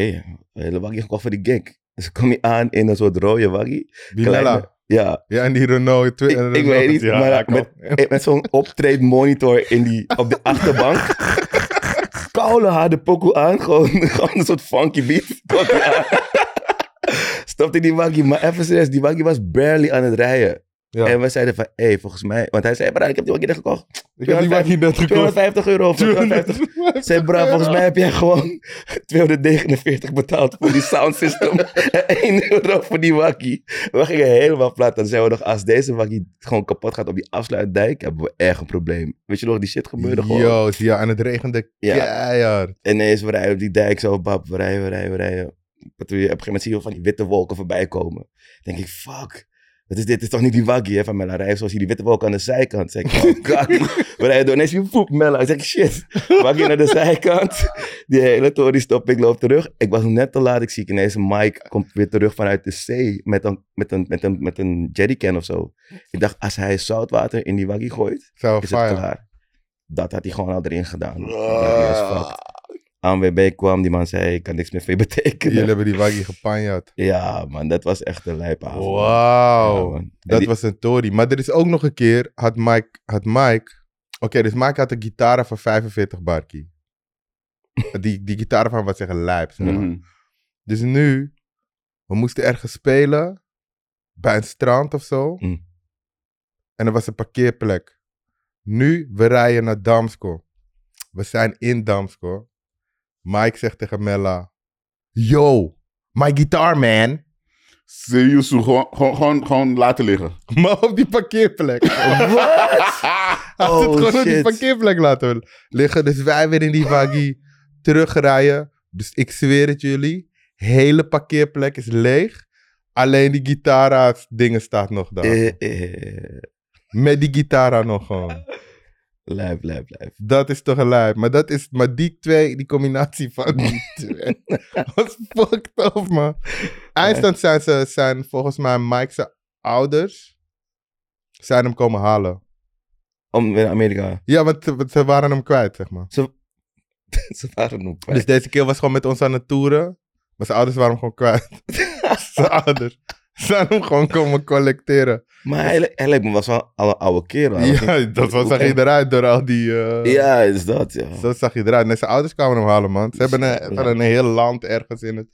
D: een hele waggie gekocht voor die gig. Dus kwam hij aan in een soort rode waggie.
B: Die Nella.
D: Kleine- Ja,
B: Ja, en die Renault. twi-
D: Ik-
B: eh,
D: ik
B: Renault,
D: weet niet,
B: ja,
D: maar
B: ja, kom.
D: en met zo'n optreedmonitor in die, op de achterbank. Koude harde pokoe aan, gewoon, gewoon een soort funky beat. Komt hij aan. Stopte die waggie, maar even serieus, die waggie was barely aan het rijden.
B: Ja.
D: En we zeiden van, hé, volgens mij... Want hij zei, maar ik heb die waggie net gekocht.
B: Ik heb die
D: 250
B: waggie net gekocht.
D: 250 euro of 250 Zeg, bra, volgens mij heb jij gewoon 249 betaald voor die sound system. en 1 euro voor die wakkie. We gingen helemaal plat. Dan zijn we nog, als deze wakkie gewoon kapot gaat op die afsluitdijk, hebben we echt een probleem. Weet je nog, die shit gebeurde gewoon.
B: Yo, zie je, en het regende
D: Ja.
B: keihard.
D: En ineens, we rijden op die dijk zo, bab, we rijden, we rijden, we rijden. Maar toen je- op een gegeven moment zie je van die witte wolken voorbij komen. denk ik, fuck. Wat is dit? Dit is toch niet die waggie hè, van Mella? Rij zoals je die witte wolken aan de zijkant. Zeg ik, oh god. We rijden door. Ineens wie poep Mella. Ik zeg, shit. Waggie naar de zijkant. Die hele tory stop. Ik loop terug. Ik was net te laat. Ik zie ineens Mike komt weer terug vanuit de zee. Met een, met een, met een, met een jerrycan of zo. Ik dacht, als hij zoutwater in die waggie gooit,
B: Zou
D: is het
B: fire.
D: klaar. Dat had hij gewoon al erin gedaan.
C: Ah.
D: Waggie was fucked. ANWB kwam, die man zei, ik kan niks meer voor je betekenen.
B: Jullie hebben die waggie gepanjat.
D: Ja, man, dat was echt een lijpavond. Ah, Ja,
B: Wauw.
D: man. En
B: dat
D: die-
B: was een tory. Maar er is ook nog een keer, had Mike, had Mike oké, dus Mike had een gitaar van 45 barkie. die, die gitaar van wat zeggen lijp. zeg maar.
C: Mhm.
B: Dus nu, we moesten ergens spelen, bij een strand of zo.
D: Mm.
B: En er was een parkeerplek. Nu, we rijden naar Damsko. We zijn in Damsko. Mike zegt tegen Mella, yo, my guitar man.
C: Serieus, zo, gewoon, gewoon, gewoon, gewoon laten liggen.
B: Maar op die parkeerplek. Hij had
D: Oh,
B: het gewoon op die
D: shit.
B: parkeerplek laten liggen. Dus wij weer in die waggie terugrijden. Dus ik zweer het jullie. Hele parkeerplek is leeg. Alleen die gitara dingen staat nog daar.
D: Eh, eh,
B: Met die gitara nog gewoon.
D: Lijp, lijp, lijp.
B: Dat is toch een lijp. Maar, dat is, maar die twee, die combinatie van die twee. was fucked up, man. Eindstand zijn, ze, zijn volgens mij Mike's ouders. Zijn hem komen halen.
D: Om weer naar Amerika.
B: Ja, want ze- want ze waren hem kwijt, zeg maar.
D: Ze waren nog
B: Dus
D: kwijt.
B: deze keer was gewoon met ons aan het toeren. Maar zijn ouders waren hem gewoon kwijt. zijn ouders. Zijn hem gewoon komen collecteren.
D: Maar hij, li- hij lijkt me was wel al een oude kerel. Hij was
B: Ja,
D: niet-
B: dat was, zag je
D: Hoe-
B: eruit door al die... eh,
D: Ja, is dat, ja.
B: Zo zag je eruit. Nee, zijn ouders kwamen hem halen, man. Ze hebben een, van een heel land ergens in het,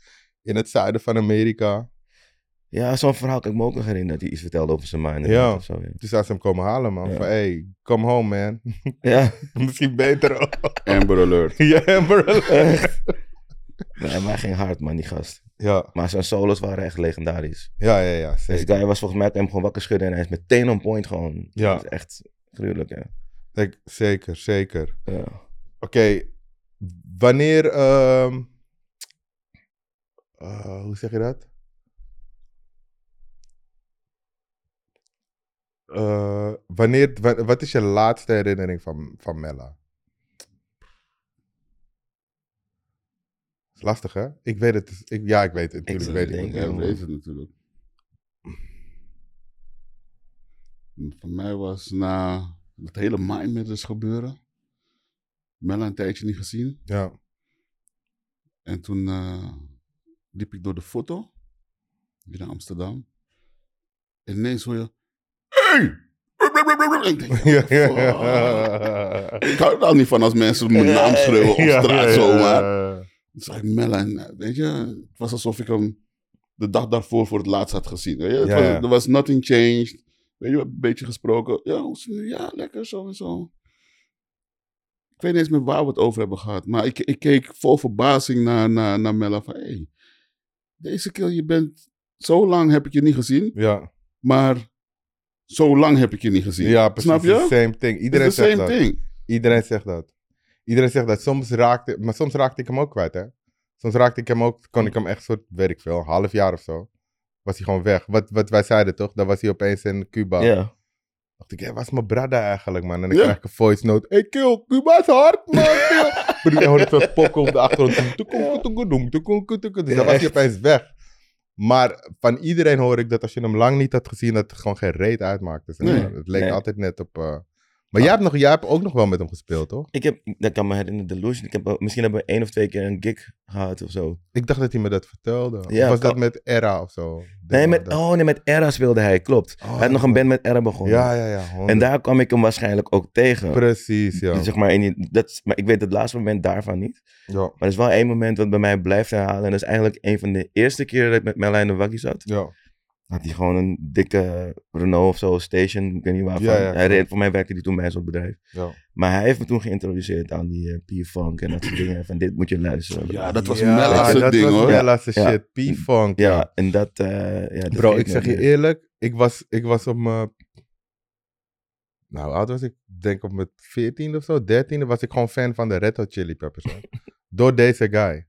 B: in het zuiden van Amerika.
D: Ja, zo'n verhaal kan ik me ook nog herinneren. Dat hij iets vertelde over zijn man.
B: Ja.
D: Of zo, ja.
B: Toen zijn ze hem komen halen, man.
D: Ja.
B: Van, hey, come home, man.
D: ja.
B: Misschien beter ook.
C: Amber Alert.
B: ja, bro.
D: Nee, maar hij ging hard, man, die gast.
B: Ja,
D: Maar zijn solos waren echt legendarisch.
B: ja, ja, ja
D: Deze
B: zeker.
D: guy was volgens mij kan hem gewoon wakker schudden en hij is meteen on point gewoon.
B: Ja.
D: Dat is echt gruwelijk, ja.
B: Ik- Zeker, zeker.
D: ja.
B: Oké, wanneer. ehm, eh, hoe zeg je dat? Eh, wanneer, wa- wat is je laatste herinnering van, van Mella? Is lastig, hè? Ik weet het. dus, Ik, ja, ik weet het.
D: Ik
B: Natuurlijk
D: zou
B: weet ik
D: denken.
B: het.
C: Ja, dat weet het natuurlijk. Voor mij was na dat hele mindmatters gebeuren, Mella een tijdje niet gezien.
B: Ja.
C: En toen eh, liep ik door de foto, hier naar Amsterdam. En ineens hoor je, hey! En ik denk,
B: ja, ja,
C: fuck. Ik hou er al niet van als mensen mijn naam schreeuwen op straat zomaar. Toen zag ik Mella en eh, weet je, het was alsof ik hem de dag daarvoor voor het laatst had gezien. Weet je? Het
B: Ja,
C: was,
B: ja.
C: Er was nothing changed. Weet je, we hebben een beetje gesproken. Ja, hoe is het nu? ja, lekker zo en zo. Ik weet niet eens meer waar we het over hebben gehad. Maar ik, ik keek vol verbazing naar, naar, naar Mella van, hey, deze keer, je bent, zo lang heb ik je niet gezien,
B: Ja,
C: maar zo lang heb ik je niet gezien.
B: ja precies.
C: Snap je?
B: Same thing. Iedereen
C: It's the
B: zegt
C: same
B: dat.
C: thing.
B: Iedereen zegt dat. Iedereen zegt dat. Soms raakte, maar soms raakte ik hem ook kwijt, hè? Soms raakte ik hem ook, kon ik hem echt soort, weet ik veel, een half jaar of zo. Was hij gewoon weg. Wat, wat wij zeiden toch? Dan was hij opeens in Cuba.
D: ja.
B: Dacht ik, hé, waar is mijn brada eigenlijk, man? En dan
C: Ja.
B: krijg ik een voice note. Hey, kill, Cuba is hard, man. kill. Maar dan hoor ik zo'n pokken op de achtergrond. Toekoe, toekoe, doem, toekoe, toekoe, toekoe. Dus dan was hij
D: Echt.
B: opeens weg. Maar van iedereen hoor ik dat als je hem lang niet had gezien, dat het gewoon geen reet uitmaakte. zeg maar.
C: Nee.
B: Het leek
D: Nee.
B: altijd net op... eh, Maar jij hebt, nog, jij hebt ook nog wel met hem gespeeld, toch?
D: Ik heb, dat kan me herinneren, Delusion. Ik heb, wel- misschien hebben we één of twee keer een gig gehad of zo.
B: Ik dacht dat hij me dat vertelde.
D: Ja,
B: of was
D: kan-
B: dat met Era of zo?
D: Nee,
B: Dat-
D: met,
B: dat- Oh,
D: oh nee, met Era speelde hij, klopt. hij had nog een band met Era begonnen.
B: Ja, ja, ja. honderd.
D: En daar kwam ik hem waarschijnlijk ook tegen. Dus
B: Precies, ja.
D: Zeg maar, in die- dat, is- maar ik weet het laatste moment daarvan niet.
B: Ja,
D: Maar er is wel één moment wat bij mij blijft herhalen. En dat is eigenlijk een van de eerste keer dat ik met Merlijn de Wakkie zat.
B: ja.
D: Had hij gewoon een dikke Renault of zo, station, ik weet niet waarvan.
B: Ja, ja,
D: hij
B: klopt.
D: reed, voor mij werkte hij toen bij een soort bedrijf.
B: Ja.
D: Maar hij heeft me toen geïntroduceerd aan die eh, P-Funk en dat soort dingen. Van dit moet je luisteren.
C: Ja, dat was
B: Ja,
C: Mella's
B: dat
C: ding
B: was
C: hoor.
B: Mella's
D: Ja.
B: shit. P-Funk, ja.
D: Ja, en dat... eh, ja, dat
B: Bro,
D: weet
B: ik zeg
D: nog
B: je
D: niet.
B: eerlijk. Ik was, ik was op mijn... Nou, hoe oud was ik? Ik Denk op mijn 14 of zo, 13 was ik gewoon fan van de Red Hot Chili Peppers. man. Door deze guy.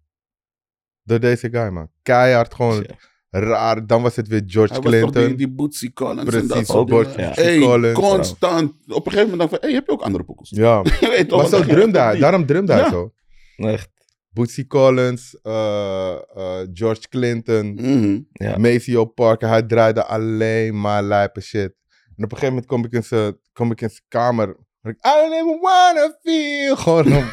B: Door deze guy, man. Keihard gewoon
D: Ja.
B: raar. Dan was het weer George
C: Hij was toch
B: Clinton.
C: die, die Bootsy Collins en dat
B: Precies, Oh,
C: soort
D: ook
C: dingen.
D: Bootsy
C: Hey,
B: Collins.
C: constant. Op een gegeven moment dacht ik van, hey, heb je ook andere pokkels?
B: Ja,
C: Je
B: maar
C: weet toch, want
B: zo
C: dan ging
B: drumde
C: het
B: hij.
C: niet.
B: Daarom drumde hij
C: Ja.
B: zo.
D: Echt,
B: Bootsy Collins, eh, eh, George Clinton,
C: Mhm.
D: ja.
B: Maceo Parker. Hij draaide alleen maar lijpe shit. En op een gegeven moment kom ik in zijn, kom ik in zijn kamer. en ik, I don't even wanna feel. Gewoon. om-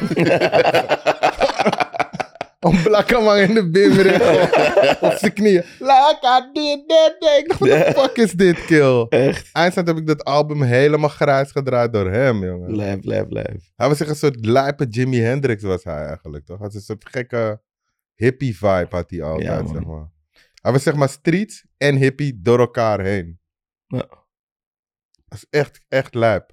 B: Om Blakkamang in de bimbering op, op zijn knieën. Laka, dit, dit, dit. Ik dacht, what the fuck is dit, kill?
D: Echt.
B: Eindstand heb ik dat album helemaal grijs gedraaid door hem, jongen.
D: Lijf, lijf, lijf.
B: Hij was echt een soort lijpe Jimi Hendrix was hij eigenlijk, toch? Hij had een soort gekke hippie vibe had hij
D: Ja,
B: altijd,
D: man.
B: zeg maar. Hij was zeg maar street en hippie door elkaar heen.
D: Ja.
B: Dat is echt, echt lijp.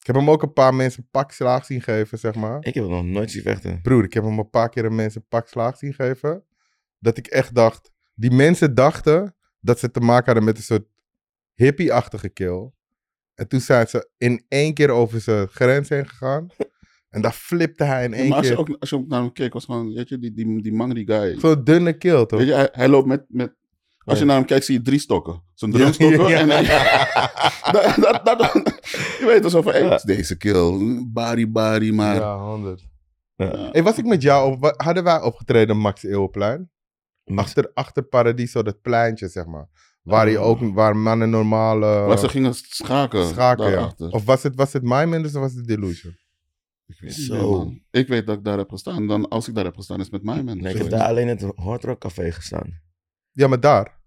B: Ik heb hem ook een paar mensen een pak slaag zien geven, zeg maar.
D: Ik heb hem nog nooit zien vechten.
B: Broer, ik heb hem een paar keer een mensen een pak slaag zien geven. Dat ik echt dacht... Die mensen dachten dat ze te maken hadden met een soort hippie-achtige kill. En toen zijn ze in één keer over zijn grens heen gegaan. En daar flipte hij in één
C: maar als je,
B: keer.
C: ook, als je ook naar hem keek, was gewoon, weet je, die, die, die mangri guy.
B: Zo'n dunne kill, toch?
C: Weet je, hij, hij loopt met, met... Als je
B: Ja.
C: naar hem kijkt, zie je drie stokken. Zo'n drumstokken.
B: Ja.
C: En, dat, dat, dat, je weet alsof van, hey, het is deze kill. Bari, bari, maar...
B: Ja, 100.
D: Ja.
B: Hey, was ik met jou op, wa- hadden wij opgetreden op Max Eeuwplein?
D: Max-
B: Achter, achter Paradiso, dat pleintje, zeg maar. Waar, je
D: Oh.
B: ook, waar mannen normaal eh,
C: Waar ze gingen schaken.
B: schaken, ja. Oh,
C: daarachter.
B: Of was het, was het My Mendes of was het Delusion?
C: Ik weet,
D: Zo.
C: niet meer, man. ik weet dat ik daar heb gestaan. Dan, als ik daar heb gestaan, is het met mij, man.
D: Nee, ik
C: Zo
D: heb
C: is
D: daar
C: het.
D: alleen in het Hard Rock Café gestaan.
B: Ja, maar daar.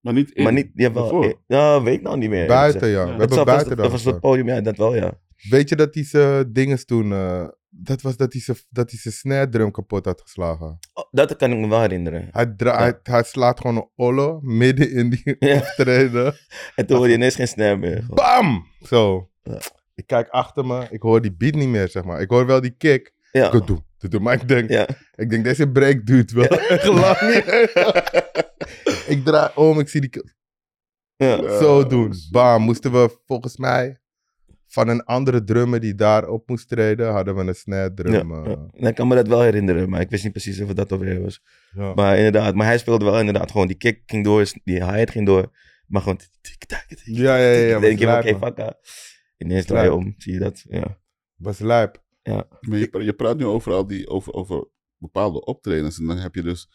C: Maar niet in.
D: Maar niet, die hebben wel...
C: Waarvoor?
D: Ja, weet ik nou niet meer. eerlijk
B: Buiten,
D: gezegd.
B: ja.
C: Ja.
B: We
D: Dat
B: hebben
D: zou- was-
B: buiten
D: Dat
B: dan
D: was het
B: gestaan.
D: podium, ja, dat wel, ja.
B: Weet je dat die ze dinges toen... eh, dat was dat hij zijn dat hij zijn snare drum kapot had geslagen.
D: Oh, Dat kan ik me wel herinneren.
B: Hij, dra-
D: Ja.
B: hij, hij slaat gewoon een ollo midden in die
D: Ja.
B: optreden.
D: En toen hoorde je ineens geen snare meer. Gewoon.
B: Bam! Zo.
D: Ja.
B: Ik kijk achter me, ik hoor die beat niet meer, zeg maar. Ik hoor wel die kick.
D: Ja.
B: Ik doe, doe, doe. Maar ik denk,
D: Ja.
B: ik denk, deze break duurt wel echt lang niet. ik draai om, ik zie die kill.
D: Ja.
B: Zo doen. Bam. Moesten we volgens mij van een andere drummer die daar op moest treden, hadden we een snare
D: Ja.
B: drum. eh,
D: Ja. Ik kan me dat wel herinneren, maar ik wist niet precies of het dat alweer was.
B: ja.
D: Maar inderdaad, maar hij speelde wel inderdaad gewoon. Die kick ging door, die hi-hat ging door. Maar gewoon tik-tak, tik
B: Ja, ja, ja. ja,
D: Ik denk je,
B: was,
D: oké,
B: lijp, man.
D: fuck ja. Ineens draai je
B: Lijp.
D: om, zie je dat? Ja.
B: was lijp.
C: Maar je, pra- je praat nu over, al die, over, over bepaalde optredens. En dan heb je dus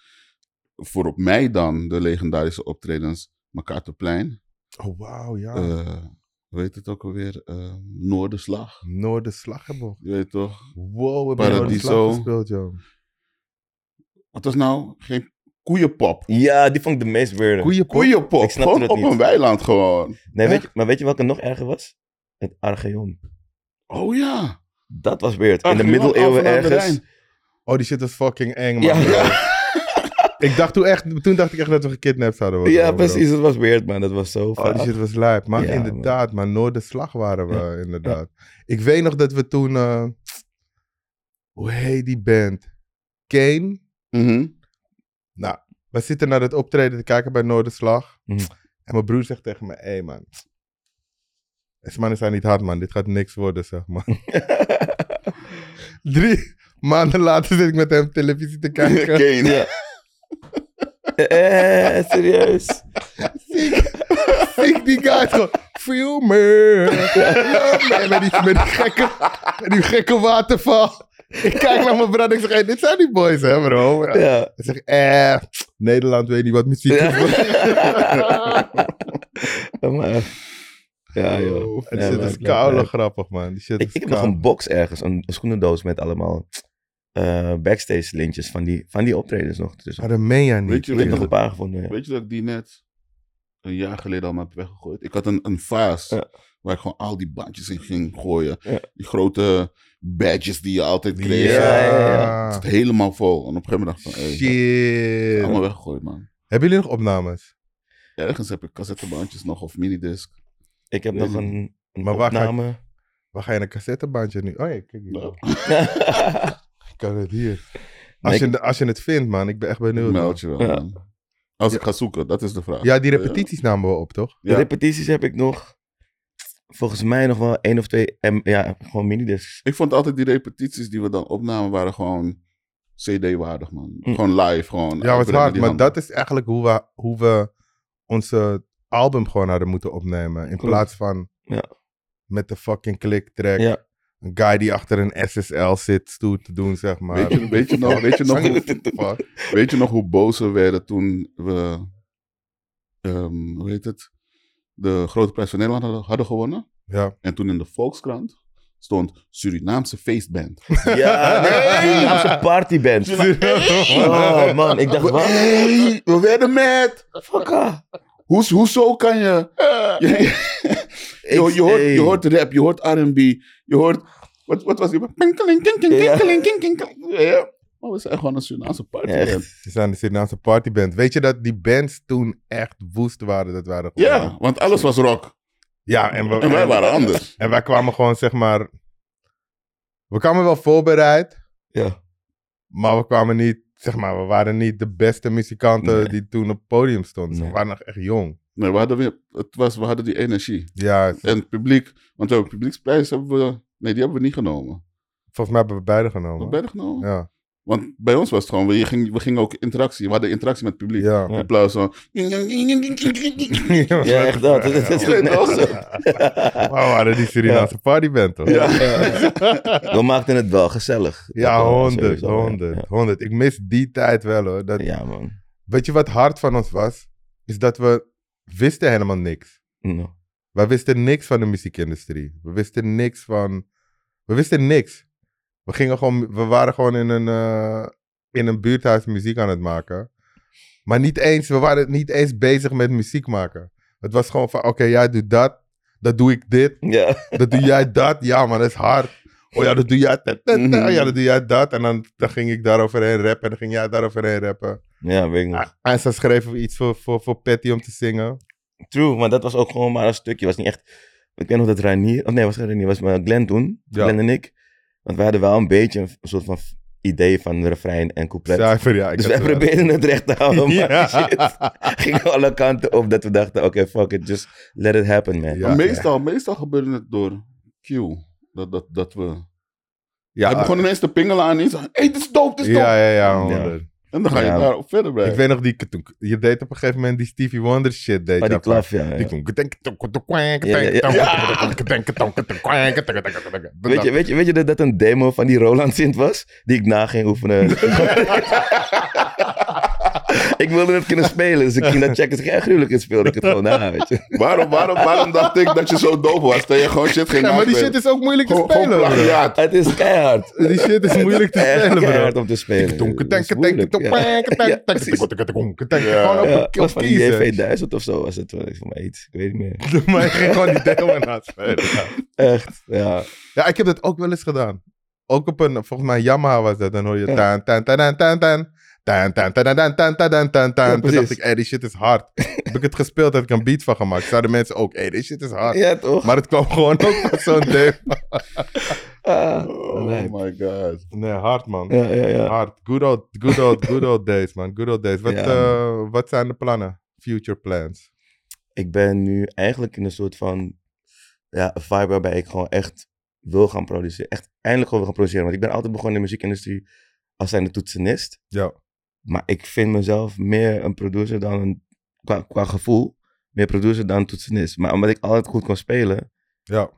C: voor op mij dan de legendarische optredens. Makaterplein.
B: Oh, wauw,
D: Ah.
B: ja.
C: eh hoe heet het ook alweer? Eh, Noorderslag.
B: Noorderslag hebben we.
C: Je weet toch?
B: Wow, we hebben
C: Paradiso.
B: Noorderslag gespeeld, joh.
C: Wat was nou? Geen koeienpop.
D: ja, die vond ik de meest weirde.
B: Koeienpop.
C: Koeienpop.
D: Ik snapte
C: Gewoon
D: het
C: op
D: niet.
C: een weiland gewoon.
D: Nee, weet je, maar weet je welke nog erger was? Het Archeon.
C: Oh ja.
D: Dat was weird. In de
C: Archeon,
D: middeleeuwen
C: Alphen aan de
D: ergens.
C: Rijn.
B: Oh, die shit was fucking eng, man.
D: Ja,
B: Ik dacht toen, echt, toen dacht ik echt dat we gekidnapt zouden worden.
D: ja,
B: bro.
D: precies. Dat was weird, man. Dat was zo
B: Oh, die
D: fout.
B: shit was lijp. Maar
D: Ja,
B: inderdaad, maar Noorderslag waren we, inderdaad. Ik weet nog dat we toen... eh, hoe heet die band? Kane?
C: Mhm.
B: Nou, we zitten naar het optreden te kijken bij Noorderslag.
D: Mhm.
B: En mijn broer zegt tegen me, hé hey, man... Deze mannen zijn niet hard, man. Dit gaat niks worden, zeg maar. Drie maanden later zit ik met hem televisie te kijken.
C: Kane.
D: Ja. Eh, serieus.
B: Ik die guy is gewoon, feel me. Nee, met, die, met, die gekke, met die gekke waterval. Ik kijk naar mijn brad en ik zeg, hey, dit zijn die boys hè bro. Hij
D: Ja.
B: zegt, eh, Nederland weet niet wat muziek is.
D: Ja.
B: man.
D: Maar, ja, joh.
B: En die
D: Ja,
B: shit
D: maar-
B: is koude grappig man. Die shit
D: Ik,
B: is
D: ik heb nog
B: koude.
D: een box ergens, een, een schoenendoos met allemaal eh, backstage lintjes van die, van die optredens nog. Dus
B: Maar dat meen jij niet.
C: Weet je,
D: ik
C: weet
D: heb
C: je
D: nog
C: dat-
D: een paar gevonden. ja.
C: Weet je dat ik die net een jaar geleden allemaal heb weggegooid? Ik had een, een vaas
D: Ja.
C: waar ik gewoon al die bandjes in ging gooien.
D: Ja.
C: Die grote badges die je altijd kreeg.
D: Ja, ja,
C: Het zat helemaal vol. En op een gegeven moment dacht ik van, hey,
B: Shit.
C: allemaal weggegooid, man.
B: Hebben jullie nog opnames?
C: Ergens heb ik cassettebandjes nog of minidisc.
D: Ik heb
C: Weet
D: nog
C: ik
D: een, een
B: Maar waar ga ik-
D: opname.
B: Waar ga je een cassettebandje nu? Oh ja, kijk hier.
C: Nou,
B: Ik kan het hier.
D: Nee,
B: Als
D: ik-
B: je, als je het vindt man, ik ben echt benieuwd. man.
C: meld je wel,
D: Ja.
C: man. Als ik ga zoeken, dat is de vraag.
B: Ja, die repetities namen we op toch?
D: De
C: Ja.
D: repetities heb ik nog, volgens mij nog wel één of twee, M, ja, gewoon minidiscs.
C: Ik vond altijd die repetities die we dan opnamen waren gewoon CD-waardig, man.
D: Hm.
C: Gewoon live, gewoon.
B: Ja, wat
C: uitbrengen
B: hard.
C: die
B: Maar
C: handen.
B: dat is eigenlijk hoe we, hoe we onze album gewoon hadden moeten opnemen. In
D: Klopt.
B: plaats van
D: Ja.
B: met de fucking click track.
D: Ja.
B: Een guy die achter een SSL zit stoer te doen, zeg maar.
C: Weet je, weet je nog, weet je nog
B: Zang-
C: hoe-
B: Fuck.
C: Weet je nog hoe boos we werden toen we, ehm, hoe heet het, de Grote Prijs van Nederland hadden, hadden gewonnen?
B: Ja,
C: En toen in de Volkskrant stond Surinaamse feestband.
D: Ja, nee, dat is een partyband. Oh man, ik dacht, wat?
C: Hey, we werden met.
D: Fuck ah.
C: Hoes- hoezo kan je... je, je, hoort- je hoort,
D: Hey.
C: je hoort rap, je hoort R&B, je hoort... Wat, wat was die? Pinkeling, kinkeling,
D: Ja.
C: kinkeling, kinkeling, kinkeling. Ja. Maar we zijn gewoon een Surinaamse party.
D: Echt.
C: man.
B: Ze zijn de Surinaamse partyband. Weet je dat die bands toen echt woest waren? Dat waren gewoon-
C: Ja, want alles was rock.
B: ja en, we,
C: En wij waren anders.
B: en wij kwamen gewoon, zeg maar... We kwamen wel voorbereid,
D: Ja.
B: maar we kwamen niet... Zeg maar, we waren niet de beste muzikanten
D: Nee.
B: die toen op het podium stonden. Ze
D: Nee.
B: waren nog echt jong.
C: Nee, we hadden, weer, het was, we hadden die energie.
B: Ja, ze-
C: En het publiek, want we hebben publieksprijs hebben we... Nee, die hebben we niet genomen.
B: volgens mij hebben we beide
C: Hebben
B: genomen.
C: we beide genomen?
B: Ja,
C: Want bij ons was het gewoon, we gingen, we gingen ook interactie. We hadden interactie met het publiek.
B: ja.
D: Ja.
C: In plaats van...
D: Ja, echt dat. Dat- dat- dat-
C: Ja,
D: dat-
C: toch?
B: We waren die Surinaamse partyband, toch?
C: Ja.
D: We maakten het wel gezellig.
B: Ja,
D: Dat wel,
B: honderd,
D: sowieso, ja.
B: honderd, honderd. Ik mis die tijd wel, hoor. Dat,
D: Ja, man.
B: Weet je wat hard van ons was? Is dat we wisten helemaal niks.
D: No.
B: Wij wisten niks van de muziekindustrie. We wisten niks van... We wisten niks. We, gingen gewoon, we waren gewoon in een, eh, in een buurthuis muziek aan het maken. Maar niet eens, we waren niet eens bezig met muziek maken. Het was gewoon van, oké, jij doet dat. Dat doe ik dit.
D: Ja.
B: Dat doe jij dat. Ja, maar dat is hard. Oh ja, dat doe jij dat. dat, dat. Ja, dat doe jij dat. En dan, dan ging ik daaroverheen rappen. En dan ging jij daaroverheen rappen.
D: ja, weet ik nog.
B: Ah, En ze schreven iets voor, voor, voor Patty om te zingen.
D: True, maar dat was ook gewoon maar een stukje. was niet echt... Ik weet nog dat Ranier... Oh nee, was geen Ranier. was maar Glenn toen.
B: Ja.
D: Glenn en ik. Want we hadden wel een beetje een soort van idee van refrein en couplet.
B: Cijfer, ja. Ik
D: dus
B: had
D: wij
B: het wel.
D: probeerden het recht te houden, maar
B: Ja.
D: shit. Ging alle kanten op dat we dachten, oké, fuck it, just let it happen, man.
B: Ja.
C: Maar meestal, meestal gebeurde het door Q. Dat, dat, dat we...
B: Ja,
C: Hij begon ineens te pingelen aan iets. Hé, hey, dit is dope, dit is dope.
B: ja, ja, ja, honderd.
C: En dan ga je
D: Ja.
C: daarop verder bij.
B: Ik weet nog die... katoen- Je deed op een gegeven moment die Stevie Wonder shit. Deed
D: Maar
B: je
D: die
B: van-
D: klaf, ja. ja.
B: Die kon- ketenk, ketenk, ketenk, ketenk,
D: Ja, ja, ja.
B: ketenk, ketenk, ketenk, ketenk, ketenk, ketenk, ketenk, ketenk, ketenk.
D: Weet je, weet je, weet je dat dat een demo van die Roland Sint was? Die ik na ging oefenen. ik wilde het kunnen spelen, dus ik ging dat checken. Dus ik, ja, gruwelijk, het speelde ik het gewoon na, weet je.
C: Waarom, waarom, waarom dacht ik dat je zo doof was? Dat je gewoon shit ging
B: Ja, maar die shit
C: naspelen?
B: is ook moeilijk te
C: Gewoon- gewoon
B: spelen. bro.
C: plagiaat.
D: Het is keihard.
B: Die shit is moeilijk te
D: Echt
B: spelen, bro.
D: keihard om te spelen.
B: Donker,
D: Dat
B: tanker,
D: is
B: tanker,
D: moeilijk,
B: tanker,
D: ja.
B: tanker, tanker, tanker, tanker, tanker, tanker, tanker.
C: Ja.
B: Gewoon op
D: Ja,
B: een
D: het
B: keel
D: was van die
B: kiezen.
D: JV1000 of zo was het. wel. Ik vond, mate, ik weet niet meer.
B: Maar ik ging gewoon die demo aan het spelen.
D: Echt, ja.
B: Ja, ik heb dat ook wel eens gedaan. Ook op een, volgens mij Yamaha was dat. Dan hoor je
D: Ja.
B: tan, tan, tan, tan, tan, tan. Tan, tan, tan, tan, tan, tan, tan, tan, tan, tan.
D: Ja,
B: Toen dacht
D: precies.
B: ik, hé, die shit is hard. heb ik het gespeeld, had ik een beat van gemaakt. Zouden mensen ook, hé, die shit is hard.
D: Ja, toch?
B: Ah. Maar het kwam gewoon ook van zo'n demo.
D: Ah,
C: Oh
D: lijp.
C: my god.
B: Nee, hard man.
D: ja, ja, ja.
B: Hard. Good old, good old, good old days man. Good old days. Wat,
D: Ja,
B: eh, wat zijn de plannen? Future plans.
D: Ik ben nu eigenlijk in een soort van ja, een vibe waarbij ik gewoon echt wil gaan produceren. Echt eindelijk gewoon wil gaan produceren. Want ik ben altijd begonnen in de muziekindustrie als zijnde toetsenist.
B: Ja.
D: Maar ik vind mezelf meer een producer dan een, qua, qua gevoel, meer producer dan toetsenist. Maar omdat ik altijd goed kon spelen,
B: Ja.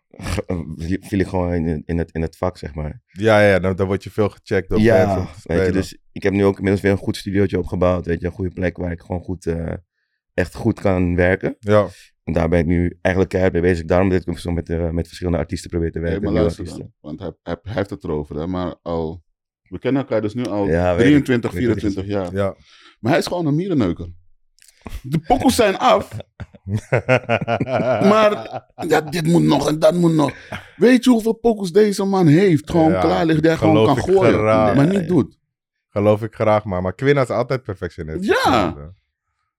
D: viel ik gewoon in, in, het, in het vak, zeg maar.
B: Ja, ja, dan, dan word je veel gecheckt op mensen om
D: Ja,
B: te
D: weet je,
B: spelen.
D: dus ik heb nu ook inmiddels weer een goed studiootje opgebouwd. Weet je, een goede plek waar ik gewoon goed, eh, echt goed kan werken.
B: Ja.
D: En daar ben ik nu eigenlijk keihard mee bezig. Daarom dat ik zo met, eh, met verschillende artiesten probeer te
C: Hey,
D: werken.
C: maar
D: nieuwe
C: luister dan,
D: artiesten.
C: Want hij, hij, hij heeft het erover, hè. Maar al... We kennen elkaar dus nu al
D: Ja, weet ik.
C: 23,
D: Weet ik wat
C: 24 jaar.
B: Ja.
C: Maar hij is gewoon een mierenneuker. De pokkels zijn af. Maar ja, dit moet nog en dat moet nog. Weet je hoeveel pokus deze man heeft? Gewoon
B: Ja,
C: klaar ligt, die hij gewoon
B: geloof
C: kan
B: ik
C: gooien.
B: graag.
C: Maar niet doet.
B: Geloof ik graag, maar. Maar Quinn is altijd perfectionist.
C: Ja.
B: dus, eh.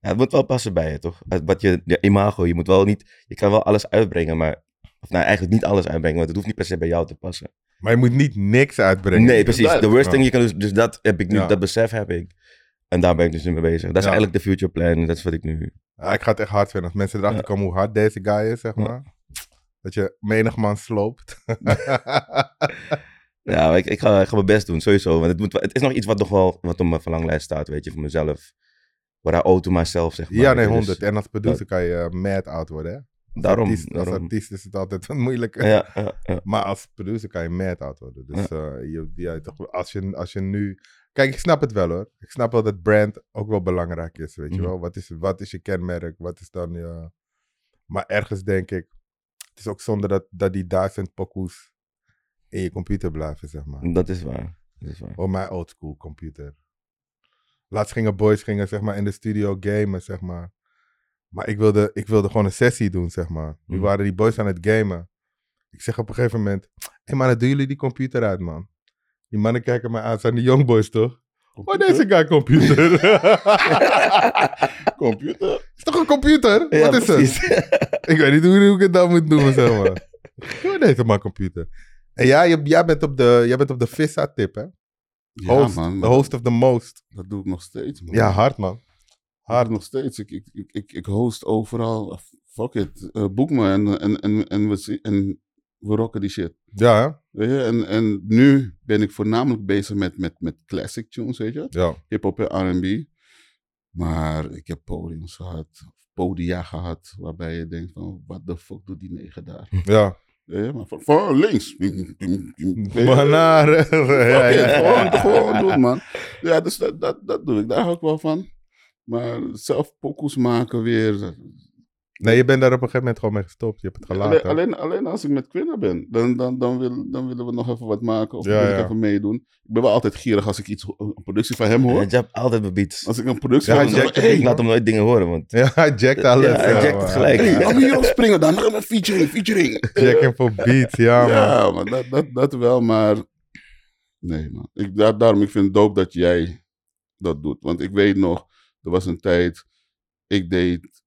D: Ja, het moet wel passen bij je, toch? Het- Wat je, ja, imago, je moet wel niet, je kan wel alles uitbrengen, maar, of nou eigenlijk niet alles uitbrengen, want het hoeft niet per se bij jou te passen.
B: Maar je moet niet niks uitbrengen.
D: Nee, precies. The
C: duidelijk.
D: worst
B: Ja.
D: thing je kan dus, dus dat heb ik nu,
B: Ja.
D: dat besef heb ik. En daar ben ik dus nu mee bezig. Dat is
B: Ja.
D: eigenlijk de future plan, dat is wat ik nu...
B: Ja, ik ga het echt hard vinden. Als mensen erachter
D: Ja.
B: komen hoe hard deze guy is, zeg
D: Ja.
B: maar. Dat je menig man sloopt.
D: Ja, maar ik, ik, ga, ik ga mijn best doen, sowieso. Want het, moet, wel- het is nog iets wat nog wel wat op mijn verlanglijst staat, weet je, voor mezelf. Waar I owe to myself, zeg maar.
B: ja,
D: weet
B: nee,
D: je, dus
B: 100. En als producer kan je eh, mad oud worden, hè? Als
D: Daarom,
B: artiest, Als
D: daarom.
B: artiest is het altijd een moeilijke.
D: Ja, ja, ja.
B: Maar als producer kan je mad oud worden. Dus eh, je, ja, toch, als, je, als je nu... Kijk, ik snap het wel, hoor. Ik snap wel dat brand ook wel belangrijk is, weet
D: Mhm.
B: je wel. Wat is, wat is je kenmerk? Wat is dan je... Maar ergens denk ik... Het is ook zonde dat, dat die duizend pokoes in je computer blijven, zeg maar.
D: Dat is waar. Dat is waar.
B: Oh, mijn oldschool computer. Laatst gingen boys gingen, zeg maar, in de studio gamen, zeg maar. Maar ik wilde, ik wilde gewoon een sessie doen, zeg maar. Nu
D: Mm.
B: waren die boys aan het gamen. Ik zeg op een gegeven moment, hé hey, mannen, doen jullie die computer uit, man? Die mannen kijken mij aan, het zijn de young boys, toch? Oh, deze guy computer.
C: computer.
B: is toch een computer? Wat is het?
D: precies.
B: Ik weet niet hoe, hoe ik het dan moet noemen, zeg maar. Doe deze maar computer. En ja, je- jij bent op de, jij bent op de Vissa-tip, hè?
C: Ja,
B: Host,
C: man.
B: the host of the most.
C: Dat doe ik nog steeds, man.
B: Ja, hard, man.
C: Hard nog steeds. Ik, ik, ik, ik, ik host overal. Fuck it. Eh, boek me en, en, en, en, we, zien- en we rocken die shit.
B: Ja, hè?
C: Weet je? En, en nu ben ik voornamelijk bezig met, met, met classic tunes, weet je.
B: Ja.
C: Hip-hop en R&B. Maar ik heb podiums gehad, podia gehad, waarbij je denkt van, wat de fuck doet die negen daar?
B: Ja.
C: Weet je? Maar van, van links.
B: Banaren. Ja,
C: Fuck it,
B: ja.
C: Gewoon, gewoon doen, man. Ja, dus dat, dat, dat doe ik. Daar hou ik wel van. Maar zelf pokoes maken weer.
B: Nee, je bent daar op een gegeven moment gewoon mee gestopt. Je hebt het
C: Alleen,
B: gelaten.
C: alleen, alleen als ik met Quinna ben, dan, dan, dan, wil, dan willen we nog even wat maken. Of
B: Ja,
C: wil ik
B: ja.
C: even meedoen. Ik ben wel altijd gierig als ik iets, ho- een productie van hem hoor.
D: Ja, Jab altijd mijn beats.
C: Als ik een productie
B: Ja,
C: van hem
B: Jack-
C: hoor.
B: Jack-
C: Hey,
D: Ik laat hem nooit dingen horen, want...
B: Ja, hij jackt alles.
D: Ja, hij
B: zeg
D: jackt het
B: maar.
D: gelijk.
C: hey, laten we hierop springen dan. Nog even featuring, featuring.
B: Jack hem voor beats, ja, man.
C: Ja, maar dat, dat, dat wel, maar... Nee, man. Ik, daar- daarom, ik vind het dope dat jij dat doet. Want ik weet nog, er was een tijd... Ik deed...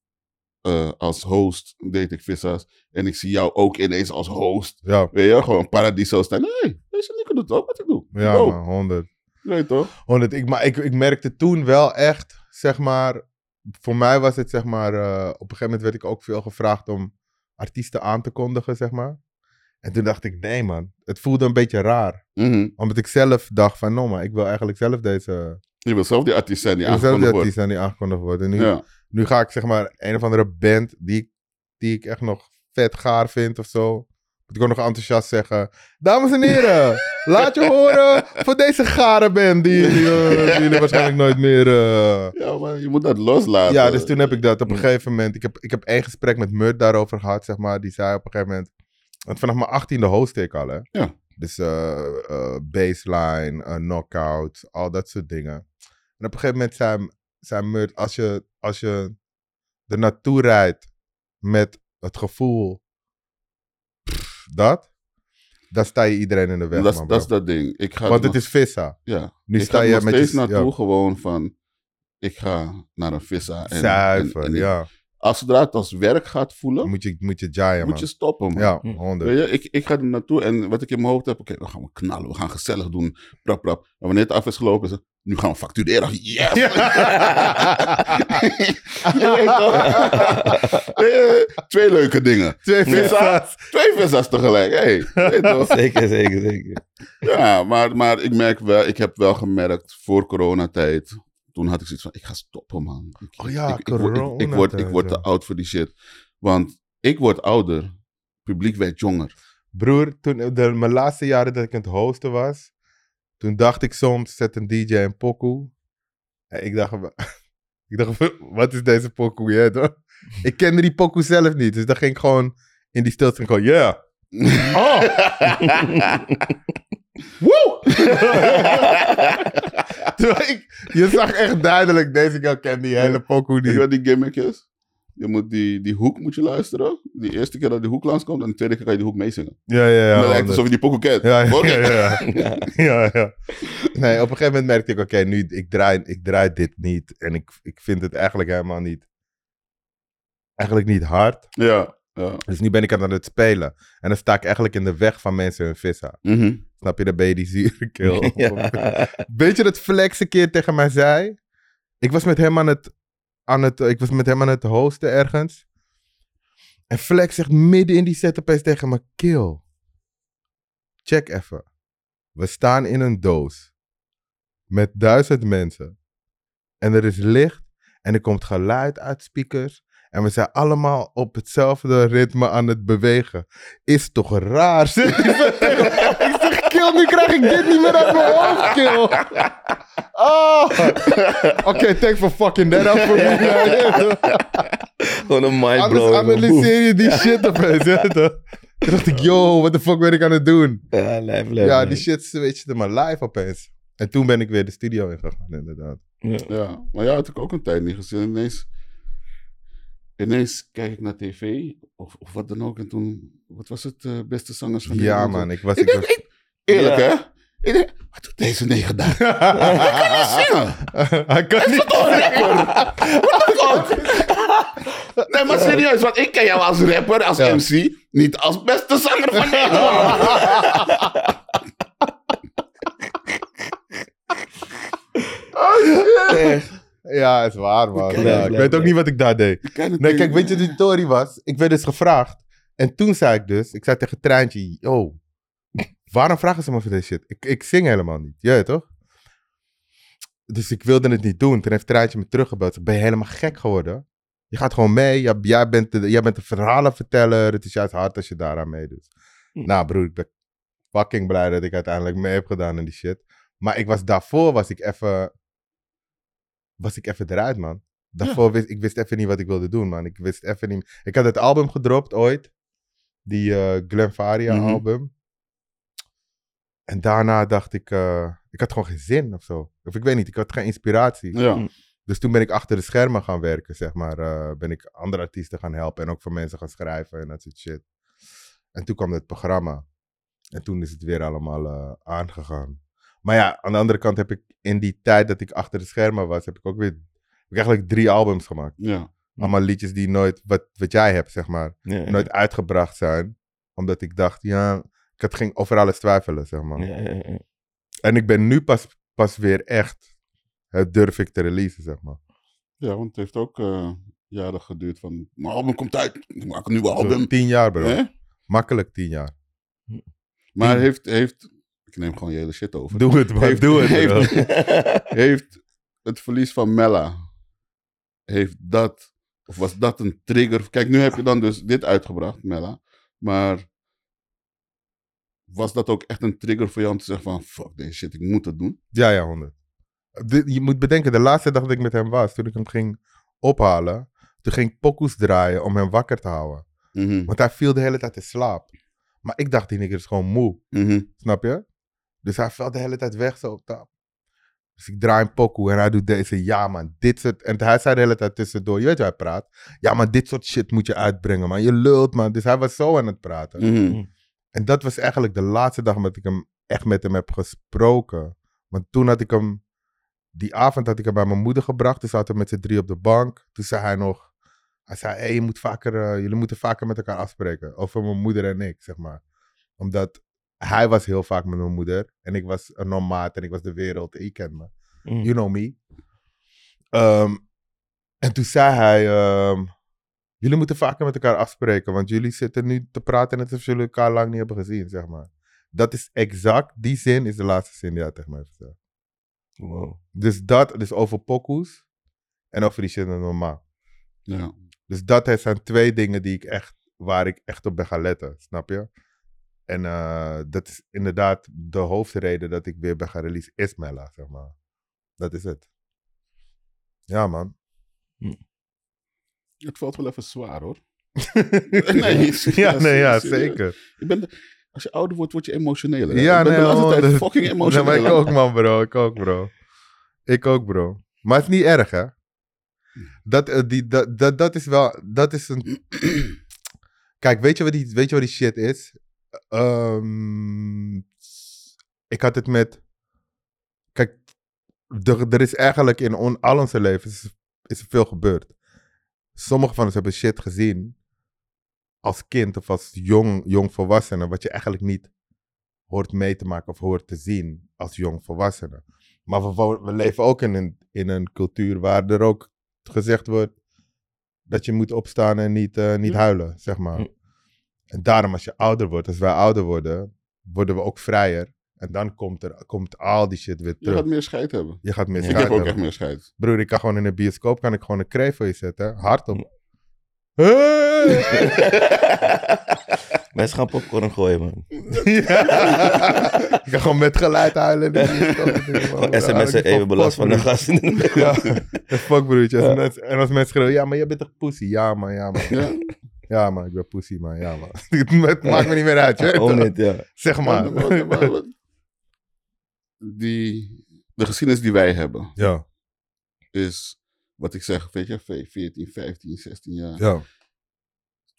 C: eh, als host deed ik Vissa's. En ik zie jou ook ineens als host.
B: Ja,
C: Weet je, gewoon paradiso staan. Hé, hey, deze Nico doet ook wat ik doe.
B: ja
C: Dope.
B: man, 100.
C: Je weet toch?
B: 100. Ik, maar ik, ik merkte toen wel echt, zeg maar. Voor mij was het zeg maar. eh, op een gegeven moment werd ik ook veel gevraagd om artiesten aan te kondigen, zeg maar. En toen dacht ik, nee, man. Het voelde een beetje raar.
C: Mhm.
B: Omdat ik zelf dacht van, no, maar ik wil eigenlijk zelf deze.
C: Je wil zelf die artiest zijn die
B: ik wil zelf die
C: aangekondigd wordt.
B: artiest zijn die aangekondigd wordt. En nu,
C: Ja.
B: Nu ga ik zeg maar een of andere band die, ik- die ik echt nog vet gaar vind of zo. Moet ik ook nog enthousiast zeggen. Dames en heren, laat je horen voor deze gare band die, jullie, eh, die jullie waarschijnlijk nooit meer... eh.
C: ja, maar je moet dat loslaten.
B: Ja, dus toen heb ik dat op een
D: Ja.
B: gegeven moment... Ik heb, ik heb één gesprek met Murt daarover gehad, zeg maar. Die zei op een gegeven moment... Want vanaf mijn achttiende host ik al, hè.
C: Ja.
B: Dus eh eh, baseline, eh, knockout, al dat soort dingen. En op een gegeven moment zei, zei Murt, als je, als je er naartoe rijdt met het gevoel pff, dat, dan sta je iedereen in de weg,
C: Dat, is-
B: man,
C: dat is
B: bro.
C: dat ding. Ik ga
B: Want
C: nog-
B: het is vissa.
C: Ja.
B: Nu
C: ik
B: sta
C: ga
B: je
C: er nog
B: met
C: steeds
B: je...
C: naartoe
B: ja,
C: gewoon van... Ik ga naar een vissa. En,
B: zuiver,
C: en- en ik-
B: ja.
C: Als zodra het als werk gaat voelen,
B: Moet je, moet je jaaien,
C: moet
B: man.
C: je stoppen. man.
B: Ja,
D: Hm.
B: 100.
C: Weet je, ik, ik ga er naartoe en wat ik in mijn hoofd heb, oké, we gaan we knallen, we gaan gezellig doen, prap, prap. En wanneer het af is gelopen, is het, nu gaan we factureren. Yes! Je weet toch? Weet je, Twee leuke dingen.
B: Twee
C: Vissa's. Twee vissa's tegelijk. Hey, je weet toch?
D: Zeker, zeker, zeker.
C: Ja, maar, maar ik merk wel, ik heb wel gemerkt voor coronatijd. Toen had ik zoiets van, ik ga stoppen man. Ik,
B: Oh ja,
C: ik, ik, word, ik, ik word, ik
B: coronatijd,
C: word
B: ja.
C: te oud voor die shit. Want ik word ouder, publiek werd jonger.
B: Broer, toen eh, de, mijn laatste jaren dat ik aan het hosten was, toen dacht ik soms, zet een DJ een pokoe. En ik dacht, wa- ik dacht, wat is deze pokoe? Ja, toch? ik kende die pokoe zelf niet, dus dan ging ik gewoon in die stilte en gewoon, yeah. Oh, woe! Terwijl ik, je zag echt duidelijk, deze guy kent die hele pokoe
C: Weet je
B: niet.
C: wat die gimmick is? Je moet die, die hoek moet je luisteren. Die eerste keer dat die hoek langskomt en de tweede keer kan je die hoek meezingen.
B: Ja, ja,
C: Dan
B: ja.
C: lijkt het
B: honderd.
C: alsof je die pokoe kent.
B: Ja, ja,
C: Oké.
B: ja, ja. ja, ja. Nee, op een gegeven moment merkte ik, oké, nu ik draai, ik draai dit niet. En ik, ik vind het eigenlijk helemaal niet, eigenlijk niet hard.
C: Ja. ja.
B: Dus nu ben ik aan het spelen. En dan sta ik eigenlijk in de weg van mensen hun vissa.
C: Mhm.
B: Snap je, dan ben je die zure kill.
D: Ja.
B: Weet je dat Flex een keer tegen mij zei? Ik was met hem aan het, aan het, ik was met hem aan het hosten ergens. En Flex zegt midden in die set opeens tegen me, kill. Check even. We staan in een doos. Met duizend mensen. En er is licht. En er komt geluid uit speakers. En we zijn allemaal op hetzelfde ritme aan het bewegen. Is toch raar? Zegt hij zo tegen me. ik zeg, kill, nu krijg ik dit niet meer uit mijn hoofd, kill. Oh. Oké, thanks for fucking that up for me.
D: Gewoon een
B: Anders
D: mindblower.
B: analyseer je die shit opeens. hè, toch? Toen dacht ik, yo, what the fuck ben ik aan het doen?
D: Ja, lijf, lijf.
B: Ja,
D: lijf.
B: die shit switchte maar live opeens. En toen ben ik weer de studio ingegaan, inderdaad.
D: Ja.
C: Ja, maar ja, had ik ook een tijd niet gezien. Ineens, ineens kijk ik naar tv of, of wat dan ook. En toen, wat was het, eh, beste zangers van
B: Ja,
C: Nederland?
B: man, ik was...
C: Ik
B: Ik
C: denk,
B: was...
C: ik- eerlijk
D: Ja.
C: hè? Ik denk, wat doet deze negen daar? Zingen!
B: Hij kan niet...
C: Nee, maar serieus, want ik ken jou als rapper, als
B: Ja.
C: MC, niet als beste zanger van Nederland.
D: Echt.
B: Ja, is waar, man.
D: Kijk,
B: Ja,
D: kijk,
B: ik
D: kijk.
B: weet ook niet wat ik daar deed.
C: Ik ken het
B: Nee,
C: niet.
B: kijk, weet je wat de story was? Ik werd dus gevraagd. En toen zei ik dus, ik zei tegen Treintje, yo, waarom vragen ze me voor deze shit? Ik, ik zing helemaal niet, je weet toch? Dus ik wilde het niet doen. Toen heeft Treintje me teruggebeld. Ze, Ben je helemaal gek geworden? Je gaat gewoon mee. Jij, jij, bent de, jij bent de verhalenverteller. Het is juist hard als je daaraan meedoet.
D: Hm.
B: Nou broer, ik ben fucking blij dat ik uiteindelijk mee heb gedaan in die shit. Maar ik was daarvoor, was ik even... Was ik even eruit, man. Daarvoor wist ik wist even niet wat ik wilde doen, man. Ik wist even niet. Ik had het album gedropt ooit. Die eh Glenfaria
C: Mhm.
B: album. En daarna dacht ik, eh, ik had gewoon geen zin of zo. Of ik weet niet, ik had geen inspiratie.
C: Ja,
B: Dus toen ben ik achter de schermen gaan werken, zeg maar. eh, ben ik andere artiesten gaan helpen en ook voor mensen gaan schrijven en dat soort shit. En toen kwam het programma. En toen is het weer allemaal eh, aangegaan. Maar ja, aan de andere kant heb ik in die tijd dat ik achter de schermen was, heb ik ook weer heb ik eigenlijk drie albums gemaakt.
C: ja.
B: Allemaal liedjes die nooit, wat, wat jij hebt, zeg maar,
D: Mm. Ja, ja.
B: nooit uitgebracht zijn. Omdat ik dacht, ja, ik had ging over alles twijfelen, zeg maar.
D: Ja, ja, ja.
B: En ik ben nu pas, pas weer echt, het durf ik te releasen, zeg maar.
C: ja want het heeft ook eh, jaren geduurd van, mijn album komt uit, ik maak een nieuwe
B: Zo
C: album.
B: Tien jaar, bro.
C: Hè?
B: Makkelijk tien jaar.
C: Maar heeft, heeft, ik neem gewoon je hele shit over.
B: Doe het, man.
C: Heeft-
B: Hm. Doe het, bro.
C: heeft, heeft het verlies van Mella, heeft dat, of was dat een trigger? Kijk, nu heb je dan dus dit uitgebracht, Mella, maar was dat ook echt een trigger voor jou om te zeggen van, fuck deze shit, ik moet het doen?
B: Ja, ja, 100. De- je moet bedenken, de laatste dag dat ik met hem was, toen ik hem ging ophalen, toen ging ik pokoes draaien om hem wakker te houden.
C: Mhm,
B: Want hij viel de hele tijd in slaap. Maar ik dacht, die nigger is gewoon moe.
C: mhm.
B: Snap je? Dus hij valt de hele tijd weg zo op tap. Dus ik draai een pokoe en hij doet deze, ja man, dit soort... En hij zei de hele tijd tussendoor, je weet hoe hij praat. Ja maar dit soort shit moet je uitbrengen man, je lult man. Dus hij was zo aan het praten.
C: Mhm.
B: En dat was eigenlijk de laatste dag dat ik hem echt met hem heb gesproken. Want toen had ik hem, die avond had ik hem bij mijn moeder gebracht. Toen zaten we met z'n drie op de bank. Toen zei hij nog, hij zei, hey, je moet vaker, eh, jullie moeten vaker met elkaar afspreken. Over mijn moeder en ik, zeg maar. Omdat hij was heel vaak met mijn moeder. En ik was een nomaat en ik was de wereld. Ik ken me.
D: Mm.
B: You know me. Ehm, en toen zei hij: ehm, Jullie moeten vaker met elkaar afspreken, want jullie zitten nu te praten net alsof jullie elkaar lang niet hebben gezien, zeg maar. Dat is exact, die zin is de laatste zin die hij tegen mij heeft gezegd.
D: Wow.
B: Dus dat is over pokoes en over die shit met mijn ma.
C: Ja.
B: Dus dat is- zijn twee dingen die ik echt, waar ik echt op ben gaan letten, snap je? En eh, dat is inderdaad de hoofdreden dat ik weer ben gaan release, is Mella, zeg maar. Dat is het. Ja, man.
C: Het valt wel even zwaar hoor. Nee,
B: ja, nee, ja,
C: serieus.
B: zeker.
C: Ik ben, als je ouder wordt, word je emotioneler. hè?
B: Ja,
C: ik ben
B: nee,
C: de laatste tijd
B: honderd.
C: fucking
B: Nee, maar
C: emotioneel.
B: ik ook, man, bro. Ik ook, bro. Ik ook, bro. Maar het is niet erg,
C: Hm.
B: hè? Dat, eh, die, dat, dat, dat is wel... Dat is een... Kijk, weet je wat die, weet je wat die shit is? Ehm, ik had het met... Kijk, er, er is eigenlijk in on, al onze levens is, is er veel gebeurd. Sommige van ons hebben shit gezien als kind of als jong, jong volwassene, wat je eigenlijk niet hoort mee te maken of hoort te zien als jong volwassene. Maar we, wo- we leven ook in een, in een cultuur waar er ook gezegd wordt dat je moet opstaan en niet, eh, niet huilen, zeg maar.
D: Hm.
B: En daarom als je ouder wordt, als wij ouder worden, worden we ook vrijer. En dan komt, er, komt al die shit weer
C: Je
B: terug.
C: gaat meer scheid hebben.
B: Je gaat meer
C: Ik heb
B: schijt
C: ook echt
B: hebben.
C: meer scheid.
B: Broer, ik kan gewoon in een bioscoop kan ik gewoon een kreef voor je zetten. hè. Hard op. Hey!
D: Mensen gaan popcorn gooien, man.
B: Ja. ik kan gewoon met geluid huilen. in de bioscoop. oh,
D: Gewoon sms'en
B: Fuck,
D: even belast van de
B: broer.
D: gasten.
B: Ja, fuck broertje. Als mensen- En als mensen schreeuwen, ja, maar jij bent toch pussy? Ja, man, ja, man.
C: Ja.
B: Ja, man, ik ben pussy, man. Ja, man. het maakt me niet meer uit, je weet
D: Own
B: toch?
D: it, ja.
B: Zeg maar.
C: Maar- maar- maar- maar- die, de geschiedenis die wij hebben
B: Ja,
C: is, wat ik zeg, weet je, ve- 14, 15, 16 jaar.
B: ja,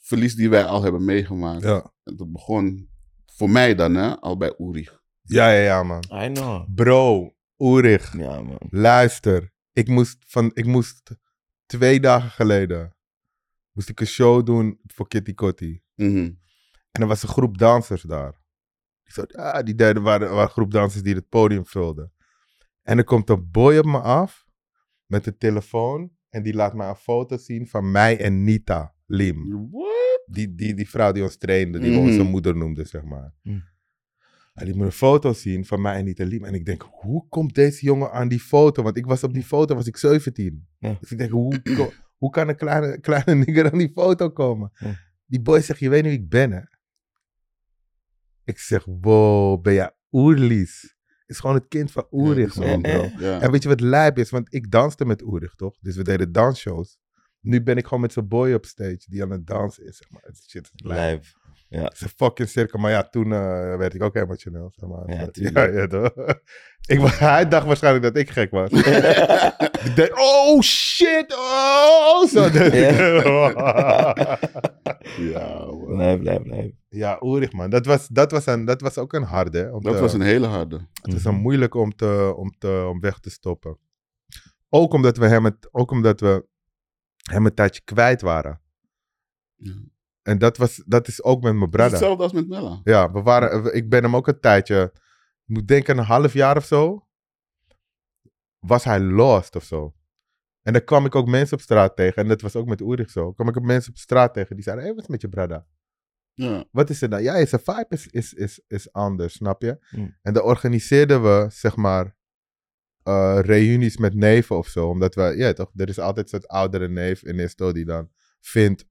C: Verlies die wij al hebben meegemaakt.
B: ja.
C: En dat begon voor mij dan, hè, al bij Uri.
B: Ja, ja, ja, man.
D: I know.
B: Bro, Oerig,
D: Ja, man.
B: luister. Ik moest, van, ik moest twee dagen geleden moest ik een show doen voor Kitty Kotti.
C: Mhm.
B: En er was een groep dansers daar. Ik zo, ah, die derde waren, waren een groep dansers die het podium vulden. En er komt een boy op me af met een telefoon. En die laat mij een foto zien van mij en Nita Lim.
C: What?
B: Die, die, die vrouw die ons trainde, die we
C: Mhm.
B: onze moeder noemde, zeg maar.
D: Mhm.
B: Hij liet me een foto zien van mij en Nita Lim. En ik denk, hoe komt deze jongen aan die foto? Want ik was op die foto, was ik 17.
D: Ja.
B: Dus ik denk, hoe, ko- hoe kan een kleine, kleine nigger aan die foto komen?
D: Ja.
B: Die boy zegt, je weet niet wie ik ben, hè? Ik zeg, wow, ben jij Oerlies? Is gewoon het kind van Oerig,
C: Ja,
B: man,
D: man,
B: bro.
D: hè?
C: Ja.
B: En weet je wat lijp is? Want ik danste met Oerig, toch? Dus we deden dansshows. Nu ben ik gewoon met zo'n boy op stage die aan het dansen is. Zeg maar. Het Shit, het is lijp.
D: Lijf.
B: Het is een fucking cirkel. Maar ja, toen eh, werd ik ook emotioneel. Zeg maar.
D: Ja,
B: ja,
D: tuurlijk.
B: ja, toch? ik, was- Hij dacht waarschijnlijk dat ik gek was. ik dacht, oh shit, oh! Zo deed ik.
C: Ja, hoor.
D: Lijf, lijf, lijf.
B: ja, Oerig man. Dat was, dat, was een, dat was ook een harde. hè, om
C: Dat
B: te-
C: was een hele harde.
B: Het is dan
D: Mm.
B: moeilijk om, te, om, te, om weg te stoppen. Ook omdat we hem, het, ook omdat we hem een tijdje kwijt waren.
C: Ja.
B: En dat, was, dat is ook met mijn
C: Het is
B: brada.
C: Hetzelfde als met Mella.
B: Ja, we waren, we- ik ben hem ook een tijdje, ik moet denken een half jaar of zo, was hij lost of zo. En dan kwam ik ook mensen op straat tegen, en dat was ook met Oerig zo, kwam ik ook mensen op straat tegen die zeiden, hé, wat is met je brada?
C: Ja.
B: wat is er nou? Ja, zijn vibe is, is, is, is anders, snap je?
D: Mm.
B: En dan organiseerden we, zeg maar, eh, reunies met neven of zo. Omdat we, ja toch, er is altijd zo'n oudere neef in Esto die dan vindt,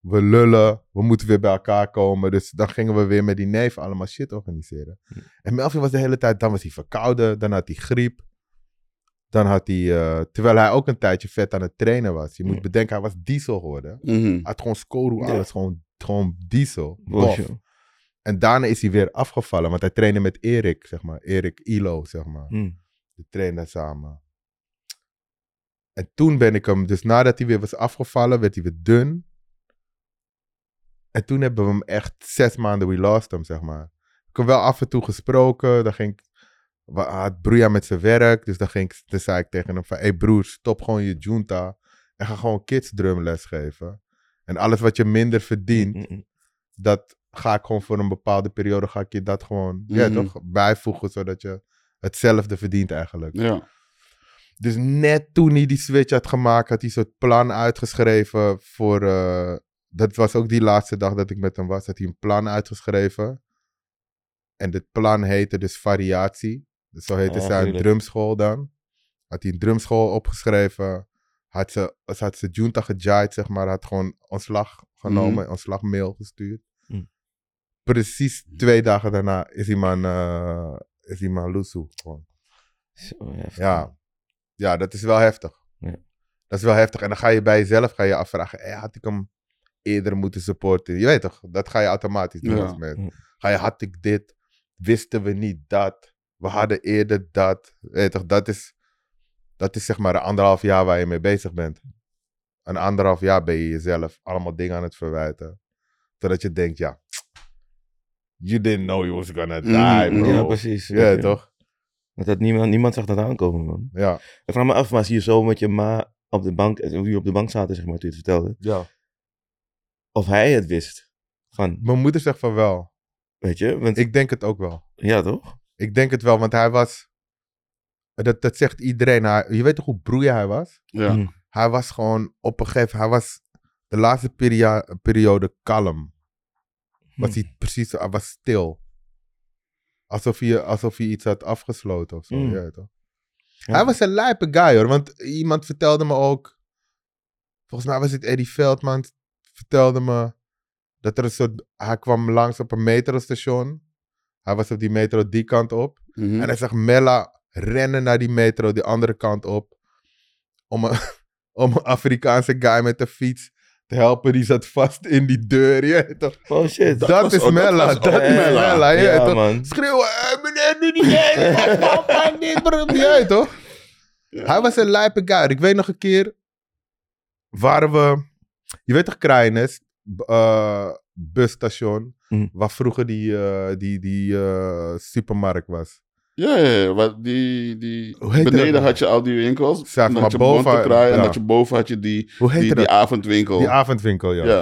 B: we lullen, we moeten weer bij elkaar komen. Dus dan gingen we weer met die neef allemaal shit organiseren.
D: Mm.
B: En Melvin was de hele tijd, dan was hij verkouden, dan had hij griep. Dan had hij, eh, terwijl hij ook een tijdje vet aan het trainen was. Je moet
D: Mm.
B: bedenken, hij was diesel geworden.
C: Mhm.
B: Hij had gewoon scoren,
D: Ja.
B: alles. Gewoon, gewoon diesel.
D: Bof.
B: Bof. En daarna is hij weer afgevallen, want hij trainde met Erik, zeg maar. Erik Ilo, zeg maar.
D: Hm.
C: Mm,
B: De trainer samen. En toen ben ik hem, dus nadat hij weer was afgevallen, werd hij weer dun. En toen hebben we hem echt zes maanden, we lost hem, zeg maar. Ik heb wel af en toe gesproken, dan ging ik, wa- had Bruja met zijn werk, dus dan, ging ik, dan zei ik tegen hem van, hé hey broer, stop gewoon je junta en ga gewoon kids drumles geven. En alles wat je minder verdient,
C: mm,
D: Hm, hm.
B: dat ga ik gewoon voor een bepaalde periode, ga ik je dat gewoon ja,
C: Mhm.
B: toch, bijvoegen, zodat je hetzelfde verdient eigenlijk.
C: Ja.
B: Dus net toen hij die switch had gemaakt, had hij zo'n plan uitgeschreven voor, eh, dat was ook die laatste dag dat ik met hem was, had hij een plan uitgeschreven. En dit plan heette dus variatie. Dus zo heette
D: Ah,
B: zijn
D: tuurlijk.
B: drumschool dan. Had hij een drumschool opgeschreven. Had ze, ze had ze junta gejaaid, zeg maar. Had gewoon ontslag genomen, ontslagmail gestuurd.
D: Mhm.
B: Precies twee dagen daarna is die man, eh, is die man loesoe. Gewoon.
D: Zo heftig.
B: Ja. ja, dat is wel heftig.
D: Ja.
B: Dat is wel heftig. En dan ga je bij jezelf ga je afvragen, eh, had ik hem eerder moeten supporten? Je weet toch, dat ga je automatisch doen
C: Ja.
B: als mens.
D: Ja.
B: Ga je, had ik dit? Wisten we niet dat? We hadden eerder dat. Je Weet toch, dat is, dat is zeg maar een anderhalf jaar waar je mee bezig bent. Een anderhalf jaar ben je jezelf allemaal dingen aan het verwijten. Totdat je denkt, ja, you didn't know you was gonna die,
C: Mm,
B: bro.
D: Ja, precies.
B: Ja, toch?
D: Want dat niemand, niemand zag dat aankomen, man.
B: Ja.
D: Ik vraag me af, maar zie je zo met je ma op de bank, eh, hoe jullie op de bank zaten, zeg maar, toen je het vertelde,
B: ja.
D: of hij het wist. Van,
B: Mijn moeder zegt van wel.
D: weet je, want,
B: Ik denk het ook wel.
D: ja toch?
B: Ik denk het wel, want hij was. Dat, dat zegt iedereen. Hij, je weet toch hoe broeien hij was?
C: Ja.
D: Mhm.
B: Hij was gewoon op een gegeven Hij was de laatste peria- periode kalm. Was hij precies. Hij was stil. Alsof hij, alsof hij iets had afgesloten of zo.
D: Mm.
B: je weet toch?
D: Ja.
B: Hij was een lijpe guy hoor. Want iemand vertelde me ook. Volgens mij was het Eddie Veldman. Vertelde me. Dat er een soort. Hij kwam langs op een metrostation. Hij was op die metro die kant op.
C: Mhm.
B: En hij zag Mella rennen naar die metro, die andere kant op. Om een, om een Afrikaanse guy met de fiets te helpen. Die zat vast in die deur. Je weet toch?
D: Oh shit.
B: Dat,
C: Dat was-
B: is
C: oh, dat
B: Mella.
C: was-
B: Dat,
C: oh,
B: is
C: Mella.
B: Mella. Je weet
D: Ja,
B: toch?
D: man.
B: Schreeuwen. eh, Meneer, doe niet gek. Pap, pap, dit, bro. Je weet toch? Hij was een lijpe guy. Ik weet nog een keer. Waren we. Je weet toch, Krijnes? b- eh, busstation.
D: Mm.
B: Waar vroeger die, eh, die, die eh, supermarkt was.
C: Ja, ja, ja, want die, die,
B: Hoe heet dat
C: beneden
B: nou?
C: had je al die winkels.
B: Zeg
C: en dan
B: maar
C: had je boven,
B: boven-
C: en
B: ja.
C: had je boven had je die,
B: Hoe heette
C: die,
B: dat?
C: die avondwinkel.
B: Die avondwinkel, ja.
C: ja.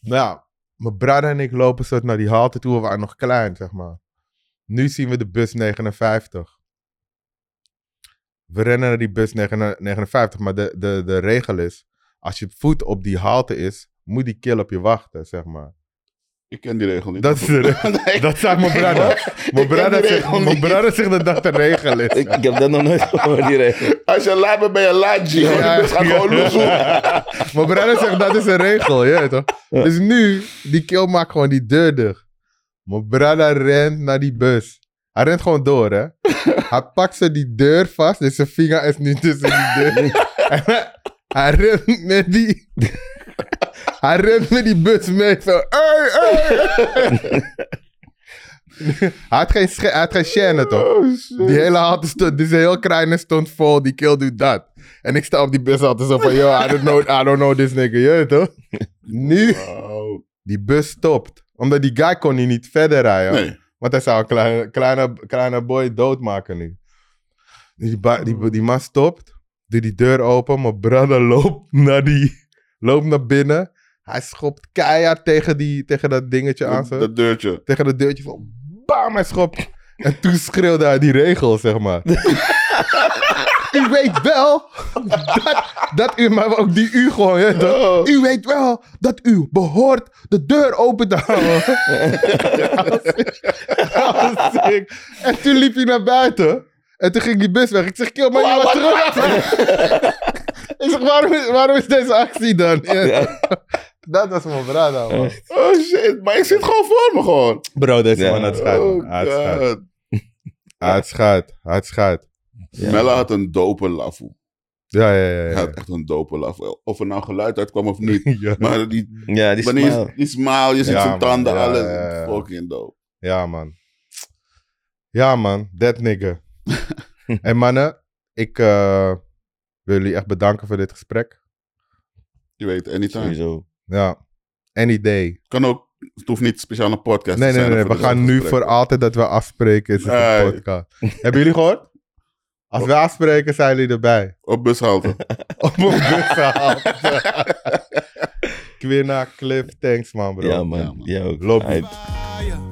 B: Nou ja, mijn broer en ik lopen zo naar die halte toe. We waren nog klein, zeg maar. Nu zien we de bus 59. We rennen naar die bus 59, maar de, de, de regel is... Als je voet op die halte is, moet die kill op je wachten, zeg maar.
C: Ik ken die regel niet.
B: Dat is de regel.
C: Nee.
B: Dat zei mijn broer. Mijn
C: die
B: broer zegt-
C: regel
B: mijn
C: niet.
B: broer zegt dat dat de regel is.
D: Ik, ik heb dat nog nooit gehoord, die regel.
C: Als je laat bent, ben je laat, G.
B: Ja,
C: Ja, gaat
B: ja.
C: gewoon loezoe.
B: Mijn broer zegt dat is een regel, je weet toch?
D: Ja.
B: Dus nu, die kill maakt gewoon die deur dicht. Mijn broer rent naar die bus. Hij rent gewoon door, hè? Hij pakt ze die deur vast, dus zijn vinger is nu tussen die deur. En hij- hij rent met die. Hij rent met die bus mee, zo. Hey, hey. Hij had geen, sche- hij had geen chaîne, toch?
C: Oh, shit.
B: Die hele halte stond, dus heel kleine stond vol, die kill doet dat. En ik sta op die bus altijd zo van, yo, I don't know, I don't know this nigga, je weet toch? Nu,
C: Wauw.
B: die bus stopt. Omdat die guy kon hier niet verder rijden.
C: Nee.
B: Want hij zou een kleine, kleine, kleine boy doodmaken nu. Dus die, ba- die, die man stopt, doet die deur open, mijn brother loopt naar, die, loopt naar binnen. Hij schopt keihard tegen, die, tegen dat dingetje aan.
C: Dat,
B: zo
C: dat deurtje.
B: tegen het deurtje van bam, hij schopt. En toen schreeuwde hij die regel, zeg maar. u weet wel dat, dat u, maar ook die u gewoon, hè, dat-
C: Oh.
B: u weet wel dat u behoort de deur open te houden. Dat was sick. en toen liep hij naar buiten. En toen ging die bus weg. Ik zeg, kill, maar je was terug. Ik zeg, waarom is, waarom is deze actie dan? Ja.
D: Ja.
B: Dat was mijn brada, man.
C: Oh shit, maar ik zit gewoon voor me gewoon.
B: Bro, deze
D: Ja.
B: man had schijt, man.
C: Oh,
B: Hij had schijt.
C: God.
B: Hij had schijt. Hij had schijt.
D: Ja.
C: Mella had een dope lafoe.
B: Ja, ja, ja.
C: Hij
B: ja.
C: had echt een dope lafoe. Of er nou geluid uitkwam of niet.
B: Ja.
C: Maar die,
D: Ja, die
C: wanneer
D: smile.
C: je- die smile, je ziet
B: Ja,
C: zijn
B: man.
C: tanden,
B: Ja,
C: alles.
B: ja, ja.
C: Fucking dope.
B: Ja, man. Ja, man. That nigga. en mannen, ik eh, wil jullie echt bedanken voor dit gesprek.
C: Je weet, anytime.
D: Sowieso.
B: Ja. Any day.
C: Kan ook, het hoeft niet speciaal een podcast
B: Nee,
C: te
B: nee,
C: zijn.
B: nee.
C: voor
B: We
C: de
B: gaan nu
C: gesprekken.
B: voor altijd dat we afspreken is het een
C: Nee.
B: podcast. Hebben jullie gehoord? Als we afspreken, zijn jullie erbij.
C: Op bushalte.
B: Op een bushalte. Quinna, Cliff, thanks man bro.
D: Ja,
C: Ja,
D: man.
C: man.
D: Ja, ook.
B: Lobby.
D: Hype.
A: Fire.